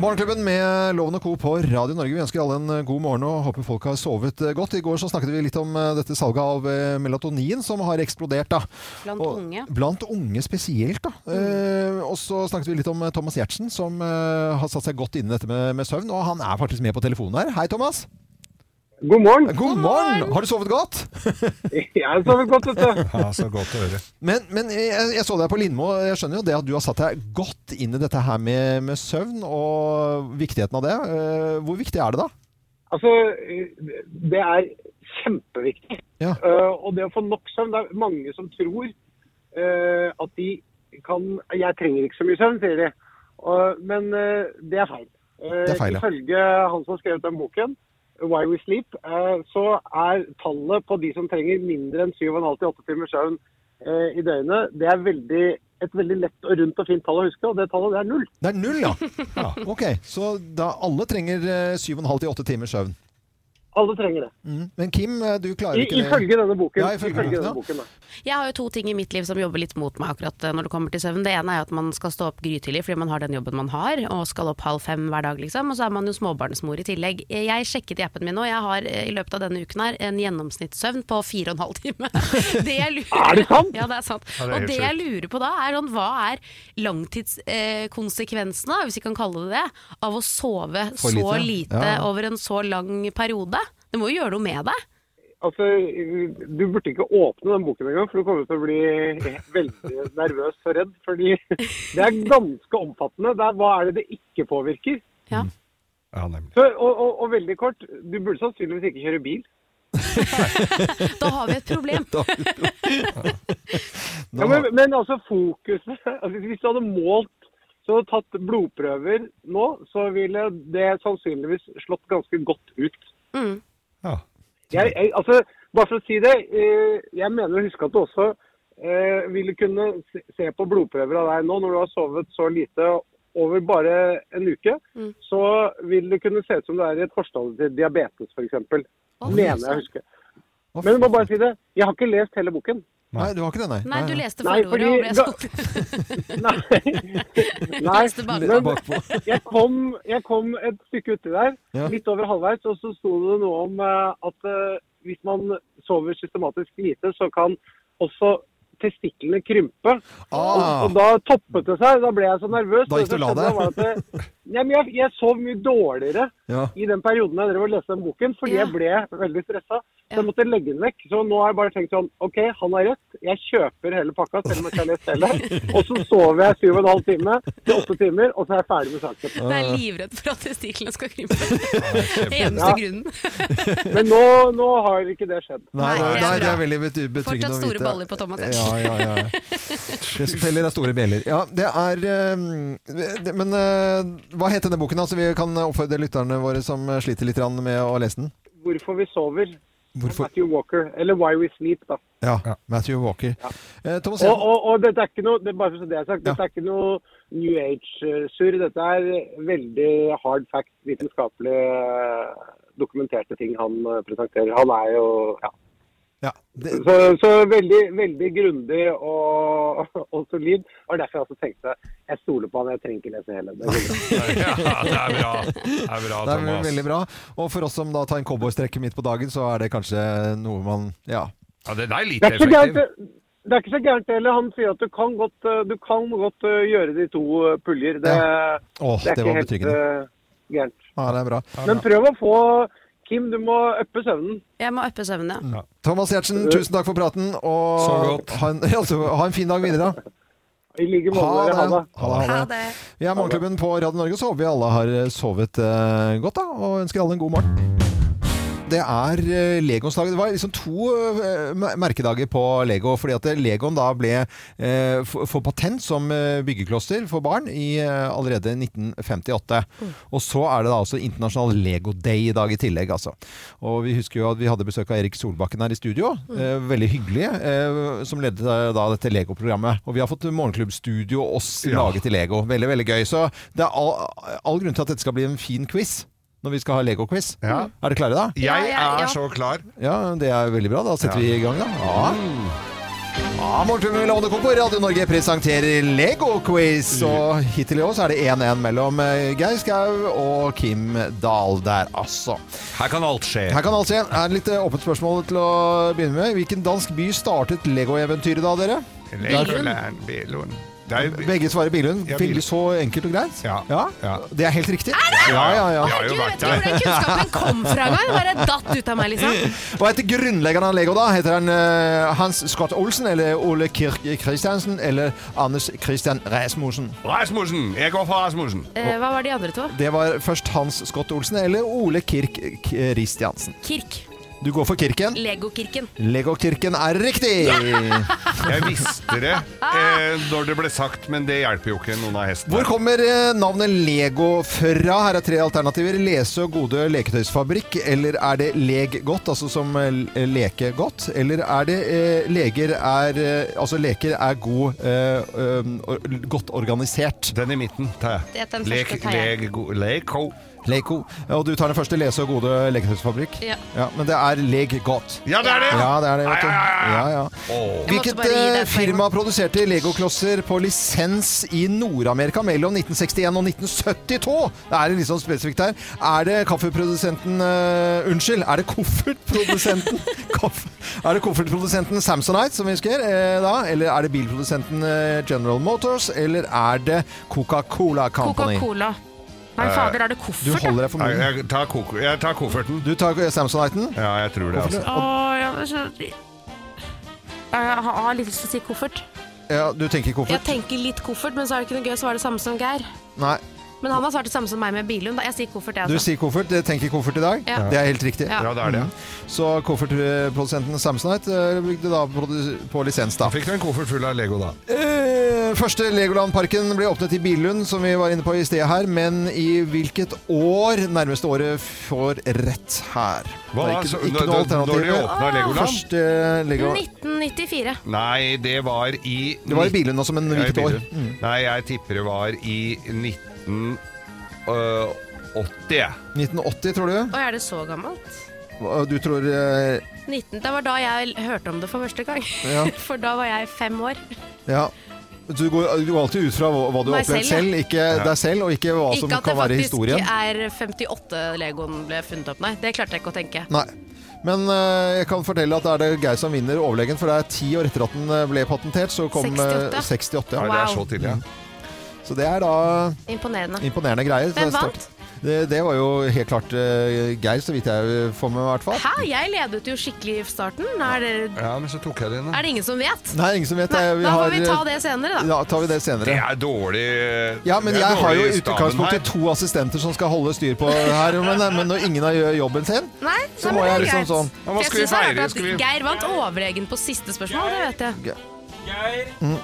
Morgenklubben med Loven og Co. på Radio Norge. Vi ønsker alle en eh, god morgen og håper folk har sovet eh, godt. I går så snakket vi litt om eh, dette salget av eh, melatonin som har eksplodert. da.
Blant
Og-
unge.
Blant unge spesielt, da. Eh, og så snakket vi litt om eh, Thomas Giertsen, som eh, har satt seg godt inn i dette med, med søvn. Og han er faktisk med på telefonen her. Hei, Thomas.
God morgen.
God morgen! Har du sovet godt?
Jeg sover godt, vet du.
Ja, så godt å høre.
Men, men jeg, jeg så deg på Lindmo, og jeg skjønner jo det at du har satt deg godt inn i dette her med, med søvn og viktigheten av det. Eh, Hvor viktig er det, da?
Altså, eh, det er kjempeviktig.
Ja.
Eh, og det å få nok søvn Det er mange som tror eh, at de kan Jeg trenger ikke så mye søvn, sier de. Og- men eh, det er feil. Eh,
Det er feil, ja.
Ifølge han som har skrevet den boken, Why We Sleep, eh, så er tallet på de som trenger mindre enn 7,5-8 timer søvn eh, i døgnet, det er veldig, et veldig lett og rundt og fint tall å huske, og det tallet det er null.
Det er null, ja. *laughs* ja. Ok, så da alle trenger eh, 7,5 til 8 timers søvn.
Alle trenger det.
Mm. Men Kim, eh, du klarer
I,
ikke det.
ifølge denne boken.
Ja, ifølge boken, ja.
denne boken da.
Jeg har jo to ting i mitt liv som jobber litt mot meg akkurat eh, når det kommer til søvn. Det ene er jo at man skal stå opp grytidlig fordi man har den jobben man har, og skal opp halv fem hver dag, liksom. Og så er man jo småbarnsmor i tillegg. Eh, Jeg sjekket i appen min nå, jeg har eh, i løpet av denne uken her en gjennomsnittssøvn på fire og en halv time. *laughs* Det jeg lurer
Er det sant?
Ja, det er sant.
Ja, det er helt
og det jeg lurer på da, er sånn hva er langtidskonsekvensene, hvis vi kan kalle det det, av å sove
For lite, ja.
så lite
Ja, ja.
over en så lang periode? Det må jo gjøre noe med deg.
Altså, Du burde ikke åpne den boken engang, for du kommer til å bli veldig nervøs og redd. fordi det er ganske omfattende. Det er, hva er det det ikke påvirker?
Ja.
Ja, nemlig.
Så, og, og, og veldig kort, du burde sannsynligvis ikke kjøre bil.
Da har vi et problem.
Ja, men, men altså fokuset *laughs* altså, Hvis du hadde målt så hadde du tatt blodprøver nå, så ville det sannsynligvis slått ganske godt ut.
*laughs* Ja.
Jeg, jeg, altså, bare for å si det, eh, jeg mener å huske at du også eh, ville kunne se, se på blodprøver av deg nå når du har sovet så lite over bare en uke. Så vil det kunne se ut som du er i et forstadie til diabetes, f.eks. Mener jeg å huske.
Å,
Men jeg må bare si det, jeg har ikke lest hele boken.
Nei, du har ikke det, nei.
Nei, du leste
Nei,
forordet
fordi
og ble
da-
skuffet.
Nei. Nei.
Leste bakpå.
men-
Bakpå.
jeg, kom, jeg kom et stykke uti der,
Ja.
litt over halvveis, og så sto det noe om eh, at eh, hvis man sover systematisk lite, så kan også testiklene krympe. Og,
Ah.
og da toppet det seg. Da ble jeg så nervøs.
Da gikk du og la
Det som skjedde var at, eh, Nei, men jeg, jeg sov mye dårligere
Ja.
i den perioden jeg drev og leste den boken, fordi
Ja.
jeg ble veldig stressa.
Ja.
Så jeg måtte legge den vekk. Så nå har jeg bare tenkt sånn OK, han har rett. Jeg kjøper hele pakka, selv om jeg ikke har
*laughs*
lest hele. Og så sover jeg syv og en halv time til åtte timer, og så er jeg ferdig med saken.
Ah.
Det er livredd for at testiklene skal
*laughs*
krympe. Eneste
Ja.
grunnen.
Men nå, nå har ikke det skjedd.
Nei, nei,
det er
nei, det
bra.
er veldig bety- betryggende
Fortsatt
å
store
vite.
baller på Thomas H.
Ja, ja, ja. Det som teller er store bjeller. Ja, det er eh, det- Men eh, hva het denne boken, da? Så vi kan oppfordre lytterne våre som sliter litt grann med å lese den.
Hvorfor vi sover.
Hvorfor?
Matthew Walker. Eller Why We Sleep, da.
Ja. Matthew Walker. Eh, Thomas
Og,
Jensen.
og, og dette er ikke noe det er bare for å si det jeg har sagt,
Ja.
dette er ikke noe New Age-surr. Dette er veldig hard fact, vitenskapelig eh, dokumenterte ting han eh, presenterer. Han er jo ja.
Ja, det,
Så, så veldig, veldig grundig og, og solid. Og derfor jeg også tenkte jeg stoler på han, jeg trenger ikke lese hele. Det er veldig bra.
ja, det er bra. Det er bra,
det er
Thomas.
veldig bra. Og for oss som da tar en cowboystrekke midt på dagen, så er det kanskje noe man Ja.
Ja, den er
*laughs*
litt
Det er ikke så gærent,
effektiv.
det- det er ikke så gærent heller. Han sier at du kan godt, eh, du kan godt eh, gjøre de to eh, puljer. Det,
Åh,
det er
det var
ikke helt
betryggende.
eh, gærent.
Ja, det er bra.
Men prøv å få Kim, du må øppe søvnen.
Jeg må uppe
Mm.
søvnen.
Thomas Giertsen, tusen takk for praten, og
Så godt.
ha en, *laughs* ja, så ha en fin dag videre, da.
I like
Ha
måte.
det.
Ha det.
Ha det, ha det. Vi er Morgenklubben på Radio Norge, så håper vi alle har eh, sovet eh, godt da, og ønsker alle en god morgen. Det er eh, Legonsdagen. Det var liksom to eh, mer- merkedager på Lego. fordi at eh, Legoen da ble eh, for, for patent som eh, byggeklosser for barn i eh, allerede 1958. Og så er det da altså internasjonal Lego Day i dag i tillegg, altså. Og vi husker jo at vi hadde besøk av Erik Solbakken her i studio. Eh, veldig hyggelig. Eh, som ledet eh, da dette Lego-programmet. Og vi har fått Morgenklubbstudio oss
Ja.
laget i Lego. Veldig, veldig gøy. Så det er all, all grunn til at dette skal bli en fin quiz. Når vi skal ha Lego-quiz.
Ja.
Er dere klare da?
Ja,
Jeg
ja, ja.
er så klar.
Ja, det er veldig bra. Da setter vi i gang, da. Ja. Ja, Morgenklubben med Lovende Co. på Radio Norge presenterer Lego-quiz. Og hittil i år så er det 1-1 mellom eh, Geir Skau og Kim Dahl der, altså.
Her kan alt skje.
Her kan alt skje. Er det litt eh, åpent spørsmål til å begynne med? Hvilken dansk by startet Lego-eventyret da, dere?
Legoland, Billund. Det er jo-
Begge svarer Billund.
Ja, Billund.
Veldig så enkelt og greit.
Ja.
ja.
Ja.
Det er helt riktig. Ja, ja, ja.
Jeg har jo
Gud, vet
vært
ikke hvor
der.
den kunnskapen kom fra engang! Bare
*laughs*
datt ut av meg, liksom.
Hva heter grunnleggeren av Lego, da? Heter han eh, Hans Scott Olsen eller Ole Kirk Christiansen eller Anders Christian Rasmussen?
Rasmussen! Jeg går for Rasmussen.
Eh, hva var de andre to?
Det var først Hans Scott Olsen eller Ole Kirk Christiansen.
Kirk.
Du går for Kirken.
Legokirken.
Legokirken er riktig!
Jeg visste
*laughs*
det eh, når det ble sagt, men det hjelper jo ikke noen av hestene.
Hvor kommer eh, navnet Lego fra? Her er tre alternativer. Lese og Gode leketøysfabrikk. Eller er det Leg godt, altså som eh, leke godt? Eller er det eh, leger er eh, Altså leker er god eh, um, or, godt organisert.
Den i midten tar
Det er
jeg.
den første
Lek,
tar jeg.
leg, go- leko.
Leko. Og du tar den første. Lese og Gode leketøysfabrikk.
Ja.
men det er Leg godt.
Ja, det er det!
Ja, det er det, vet du.
Ja, ja, ja,
Ja,
ja.
ja.
Åh.
Jeg måtte
Hvilket
bare gi deg
eh,
et poeng.
firma produserte legoklosser på lisens i Nord-Amerika mellom 1961 og 1972? Det er litt sånn spesifikt her. Er det kaffeprodusenten eh, Unnskyld, er det koffertprodusenten
*laughs*
Kaff- Er det koffertprodusenten Samsonite som vi husker eh, da? Eller er det bilprodusenten eh, General Motors? Eller er det Coca-Cola Company?
Coca-Cola. Nei, fader, er det
Du
koffert?
holder deg for
Eh, Nei,
munnen.
Jeg tar, kok jeg tar kofferten.
Du tar eh, Samsoniten.
Ja, jeg tror det, altså.
Å, ja, men så- jeg har- har litt lyst til å si koffert.
Ja, du tenker
Jeg
koffert?
tenker litt koffert, men så er det ikke noe gøy å svare det samme som Geir.
Nei.
Men han har svart det samme som meg med Bilund. da. Jeg sier koffert, jeg altså.
Du
også.
sier koffert. Jeg tenker koffert i dag.
Ja.
Det er helt riktig.
Ja.
Ja, det er det.
Så koffertprodusenten Samsonite eh, bygde da produ- på lisens, da.
Da fikk du en koffert full av Lego, da.
Eh, Første Legoland-parken ble åpnet i Billund, som vi var inne på i sted her. Men i hvilket år? Nærmeste året får rett her.
Hva
Det er
da?
ikke,
Så
ikke
når-
noe
når- når de
alternativ. Ah!
åpnet Legoland?
Første Lego...
1994.
Nei, det var i
Det var i Billund også, men
Ja, i
hvilket år? Mm.
Billund. Nei, jeg tipper det var i 1980. jeg.
1980, tror du?
Å, er det så gammelt?
Du tror eh,
19, det var da jeg hørte om det for første gang.
Ja.
*laughs* For da var jeg fem år.
Ja. Du går, du går alltid ut fra hva hva du har
Meg
opplevd
selv,
selv, ikke deg selv, og ikke hva som
ikke at det
Altså, kan være
faktisk
historien.
er 58-legoen ble funnet opp, nei. Det klarte jeg ikke å tenke.
Nei. Men eh, jeg kan fortelle at da er det Geir som vinner overlegen, for det er ti år etter at den eh, ble patentert, så kom eh, 68
68.
Nei,
ja.
det er
Wow.
så tidlig. ja.
Så det er da
Imponerende.
imponerende greier. Så
Hvem
sterkt.
vant?
Det, det var jo helt klart eh, Geir, så vidt jeg får med i hvert fall.
Hæ, jeg ledet jo skikkelig i starten. Er det,
Ja, men så tok jeg det inn. da.
er det ingen som vet?
Nei, ingen som vet.
Nei,
eh,
da
har-
får vi ta det senere, da.
Ja, tar vi det senere.
Det er dårlig
Ja, men
det er
jeg har
dårlig
jo i
staben
utgangspunktet
her.
to assistenter som skal holde styr på her, men, eh, men når ingen av gjør jobben sin
Nei,
Så må
nei, men det
jeg
er
liksom
greit.
sånn-
Ja,
For
hva
jeg
skal vi
synes jeg
feire?
hørte at
Skal vi-
Geir vant overlegen på siste spørsmål, det vet jeg.
Geir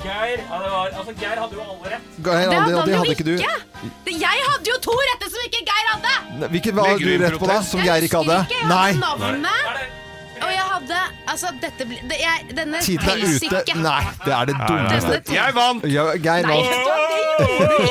Geir, ja, det var, altså, Geir hadde jo alle rett.
Geir,
Det hadde
det,
han
det
jo
hadde ikke du.
ikke! Det- Jeg hadde jo to rette som ikke Geir hadde!
Nei, Hvilket var
Legger
du
du inn
rett på da,
protest?
som Geir ikke hadde?
Jeg
Nei!
husker ikke, jeg hadde navnet.
Er det?
Og jeg hadde Altså, dette blir det, jeg, Denne
Tiden er ute.
helsike
Nei, det er det dummeste
Denne to-
Jeg vant!
ja, Geir
Nei,
vant.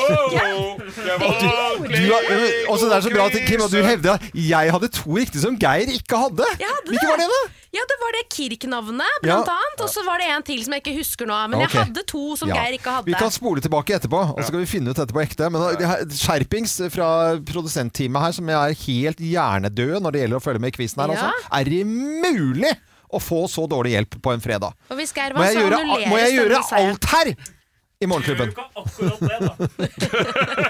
Du har, øh, også det er så bra at Kim, at du hevder at jeg hadde to riktige som Geir ikke hadde.
Jeg hadde
Hvilke var det, da?
Ja, det var det Kirk-navnet, blant
Ja.
annet. Og så var det en til som jeg ikke husker nå.
Ok.
Men jeg hadde to som
Ja.
Geir ikke hadde.
Vi kan spole tilbake etterpå, og så skal vi finne ut dette på ekte. Men øh, det her- skjerpings fra produsentteamet her, som er helt hjernedøde når det gjelder å følge med i quizen her,
Ja.
altså. Er det mulig å få så dårlig hjelp på en fredag?
Og hvis Geir
Må
vant,
jeg
så
gjøre,
annulleres
må jeg gjøre
denne seieren.
alt her i
Gjør
Morgenklubben?
du ikke akkurat det, da?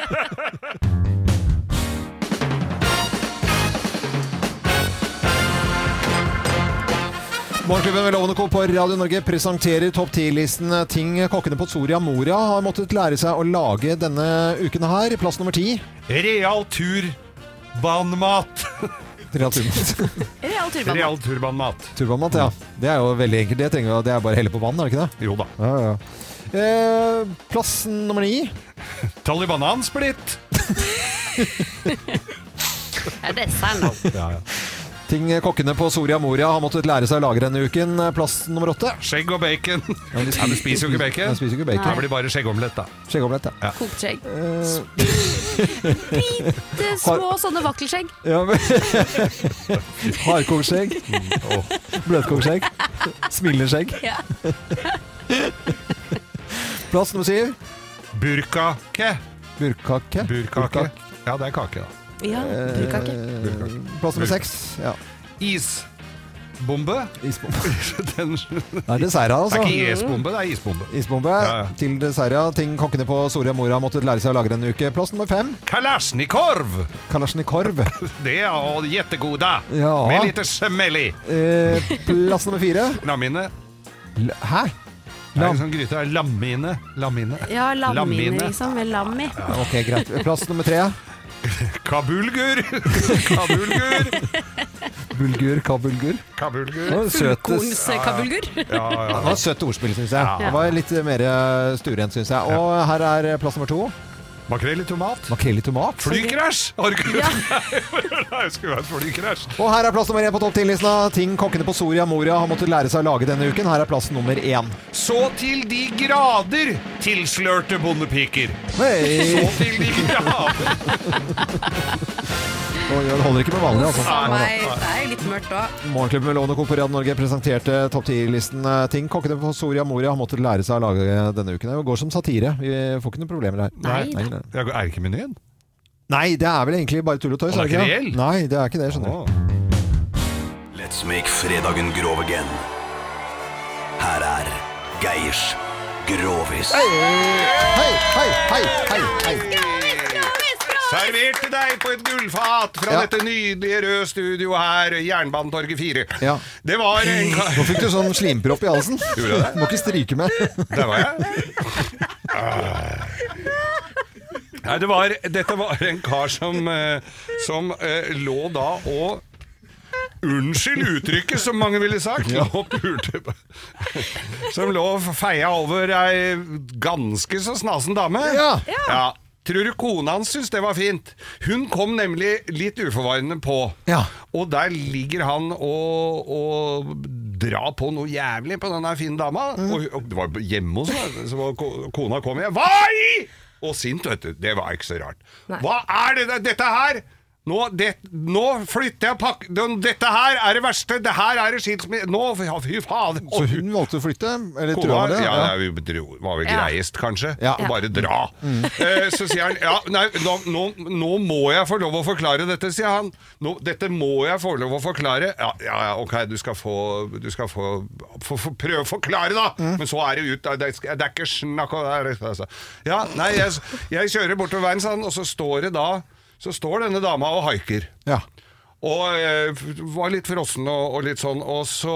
Morgenklubben med Lovende Co. på Radio Norge presenterer topp 10-listen ting kokkene på Soria Moria har måttet lære seg å lage denne uken her. Plass nummer ti.
Real tur Banmat.
Real *laughs* Turban-
Real turban.
Real turbanmat.
Turbanmat, ja. Det er jo veldig enkelt. Det trenger vi, det er bare å helle på vann, er det ikke det?
Jo da.
Ja, ja. Eh, plass nummer ni.
Talibanan-splitt.
Ja, det er sant, da.
Ting kokkene på Soria Moria har måttet lære seg å lage denne uken. Plass nummer åtte.
Skjegg og bacon. Ja, men de spiser jo ikke
Jeg
bacon.
spiser jo ikke
Da
bacon.
blir det bare skjeggeomelett, da.
Skjeggeomelett, ja.
Kokt skjegg.
Eh,
Det er små sånne vakkelskjegg.
ja, men- *laughs* Hardkokskjegg.
Mm.
Bløtkokskjegg. Smileskjegg.
Ja.
*laughs* Plass nummer syv.
Burkake.
Burkake.
Burkake. Eh, Ja, det er kake, da.
Ja, brukake.
Plass nummer seks. Ja.
Is. *laughs* Isbombe?
Isbombe.
Den,
Det er dessert her,
det er
altså.
ikke isbombe, det er isbombe.
Isbombe
Ja, ja.
til dessert, ja. Ting kokkene på Soria Moria måtte lære seg å lagre en uke. Plass nummer fem.
Kalasjnikorv!
Kalasjnikorv.
Det er jettegoda.
Ja.
Med lite smell i.
Eh, plass nummer fire.
Lammine.
L- Hæ?
Det er
Lam.
en sånn gryte. her. Lammine. Lammine.
Ja, lammine,
Lammine.
liksom. Med lam i.
Ok, greit. Plass nummer tre.
Kabulgur! *laughs* Kabulgur!
Bulgur, kabulgur. Det
Kabulgur.
var søtes.
Fullkornskabulgur.
Ja, ja.
Det var et søtt ordspill, syns jeg. Det var litt mer eh, stuerent, syns jeg. Og her er plass nummer to.
Makrell i tomat.
Makrell i tomat.
Flykrasj! Har du ikke Nei, det *laughs* skulle vært flykrasj.
Og her er plass nummer én på topp 10-listen av ting kokkene på Soria Moria har måttet lære seg å lage denne uken. Her er plass nummer én.
Så til de grader tilslørte bondepiker. Så
Hei!
til de grader
Og Det holder ikke med vanlig, altså.
Nei, nei.
Nei, det er jo litt mørkt òg.
Morgenklubben med Lovende Co. på Radio Norge presenterte topp 10-listen eh, ting kokkene på Soria Moria har måttet lære seg å lage denne uken. Det går som satire. Vi får ikke noen problemer her.
Nei,
nei, nei.
Ja, Er det ikke menyen?
Nei, det er vel egentlig bare tull og tøys.
Og det er ikke
det?
reell?
Nei, det er ikke det, skjønner du.
Å.
Let's make fredagen grov again. Her er Geirs Grovis.
Hei, hei, hei, hei, hei.
Servert til deg på et gullfat fra
Ja.
dette nydelige røde studio her, Jernbanetorget 4.
Ja.
Det var en
*laughs* Nå fikk du sånn slimpropp i halsen.
Gjorde jeg det?
Må ikke stryke med.
Der var jeg. Nei, det var, dette var en kar som, eh, som eh, lå da og Unnskyld uttrykket, som mange ville sagt. Og pulte på- Som lå og feia over ei ganske så snasen dame.
Ja.
Ja. Tror du kona hans syntes det var fint? Hun kom nemlig litt uforvarende på.
Ja.
Og der ligger han og, og drar på noe jævlig på den der fine dama.
Mhm.
Og, hun- og det var hjemme hos meg, så var ko- kona kom igjen. Hva i?! Og sint, vet du. Det var ikke så rart. Hva er det der? Dette her? Nå, det, nå flytter jeg pakk... den- Dette her er det verste! Det her er det skilsmisse... Nå, ja, fy faen!
Så hun valgte å flytte? Eller trua
Kona
med det?
ja, nei, vi dro- var vel
Ja.
greiest, kanskje.
Ja. Mm.
Og bare dra. Eh, så sier han ja, nei, nå, nå, nå må jeg få lov å forklare dette, sier han. Nå, dette må jeg få lov å forklare. Ja, ja, ja, ok, du skal få, du skal få, få, få Prøve å forklare, da!
Mm.
Men så er det ut. Det, er- det er ikke snakk om det. er- altså. Ja, nei, jeg, jeg kjører bortover veien, sa han, og så står det da Så står denne dama og haiker.
Ja.
Og eh, f- var litt frossen og, og litt sånn, og så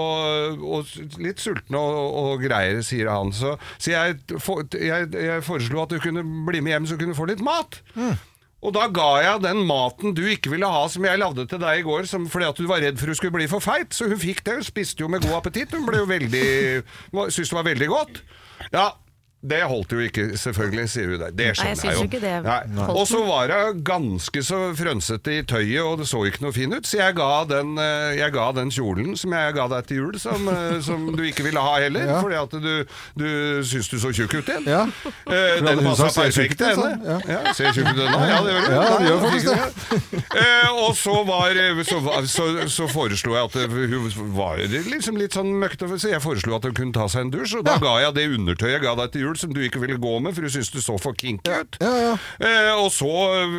og s- litt sulten og, og greier, sier han. Så, så jeg, for, jeg, jeg foreslo at du kunne bli med hjem så du kunne få litt mat. Og da ga jeg den maten du ikke ville ha som jeg lagde til deg i går som, fordi at du var redd for hun skulle bli for feit. Så hun fikk det, hun spiste jo med god appetitt. Hun ble jo veldig, var- syntes det var veldig godt. Ja, det holdt jo ikke, selvfølgelig, sier hun der. Det
Nei, jeg
skjønner jeg
syns
jo.
jo ikke det
Nei.
holdt.
Og så var hun ganske så frønsete i tøyet, og det så ikke noe fin ut, så jeg ga den, eh, jeg ga den kjolen som jeg ga deg til jul, som, eh, som du ikke ville ha heller,
Ja.
fordi at du, du syns du så tjukk ut igjen.
Ja.
Eh,
hadde
den
hun
passa
sagt, ser tjukk ut,
perfekt til
sånn,
henne. Ja, ser tjukk ut ennå. Ja, det gjør du.
Ja, det
Nei,
gjør faktisk det.
Eh, og så, var, eh, så, var- så, så foreslo jeg at eh, hun var liksom litt sånn møkkete, så jeg foreslo at hun kunne ta seg en dusj, og da
Ja.
ga jeg det undertøyet jeg ga deg til jul som du ikke ville gå med, for hun syntes du så for kinky ut.
Ja, ja.
Eh, og så,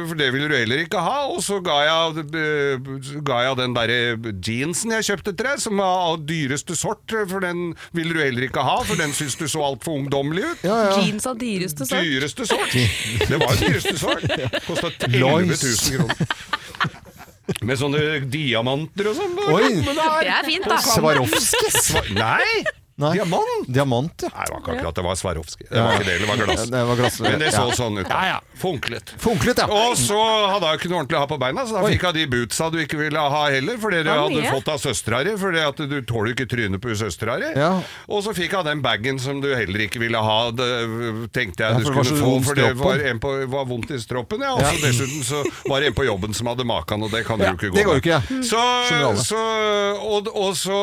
for det ville du heller ikke ha, og så ga jeg, eh, ga jeg den der eh, jeansen jeg kjøpte til deg, som var av dyreste sort, eh, for den ville du heller ikke ha, for den syntes du så altfor ungdommelig ut.
ja, ja.
Jeans av dyreste sort.
Dyreste sort. Det var jo dyreste sort. Kosta 11
Lois.
000 kroner. Med sånne diamanter og sånn.
Oi.
Men da er-
Det er fint, da.
Swarovskis?
Sva- Nei!
Nei.
Diamant?
Diamant, ja.
Nei, det var ikke akkurat det var Swarovski. Det var ikke det, det var glass.
Det var glass.
Men det så
Ja.
sånn ut. da. Funklet.
Funklet, ja.
Og så hadde hun ikke noe ordentlig å ha på beina, så da fikk hun de bootsa du ikke ville ha heller, fordi du
Var det
hadde
mye?
fått av søstera di, fordi at du tåler jo ikke trynet på søstera di.
Ja.
Og så fikk hun den bagen som du heller ikke ville ha, det, tenkte
Ja,
jeg du
for det var så
skulle få,
vondt i
for det
stroppen.
var, en på, var vondt i stroppen, ja. Og så dessuten så var det en på jobben som hadde makan, og det kan du
Ja,
jo ikke gå
det går jo
med.
ikke, ja.
Så,
Skjønner alle.
så, og, og så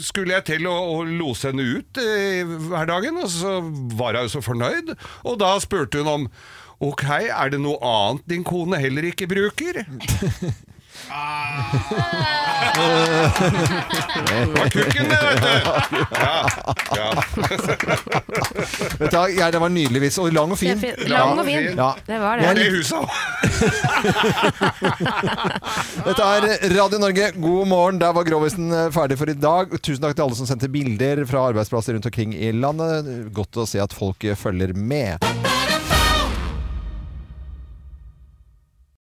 skulle jeg til å, å lose henne ut eh, hverdagen, og så var hun jo så fornøyd. Og da
*laughs*
spurte hun om Ok, er det noe annet din kone heller ikke bruker? var kukken Ah. det, vet du! Ja, ja.
Vet du hva, ja, det var en nydelig vits. Og lang og fin.
Det er fin. Lang
og fin.
Ja.
Det var
Var
det.
det huset òg?
Dette er Radio Norge, god morgen. Der var grovisen eh, ferdig for i dag. Tusen takk til alle som sendte bilder fra arbeidsplasser rundt omkring i landet. Godt å se at folk eh, følger med.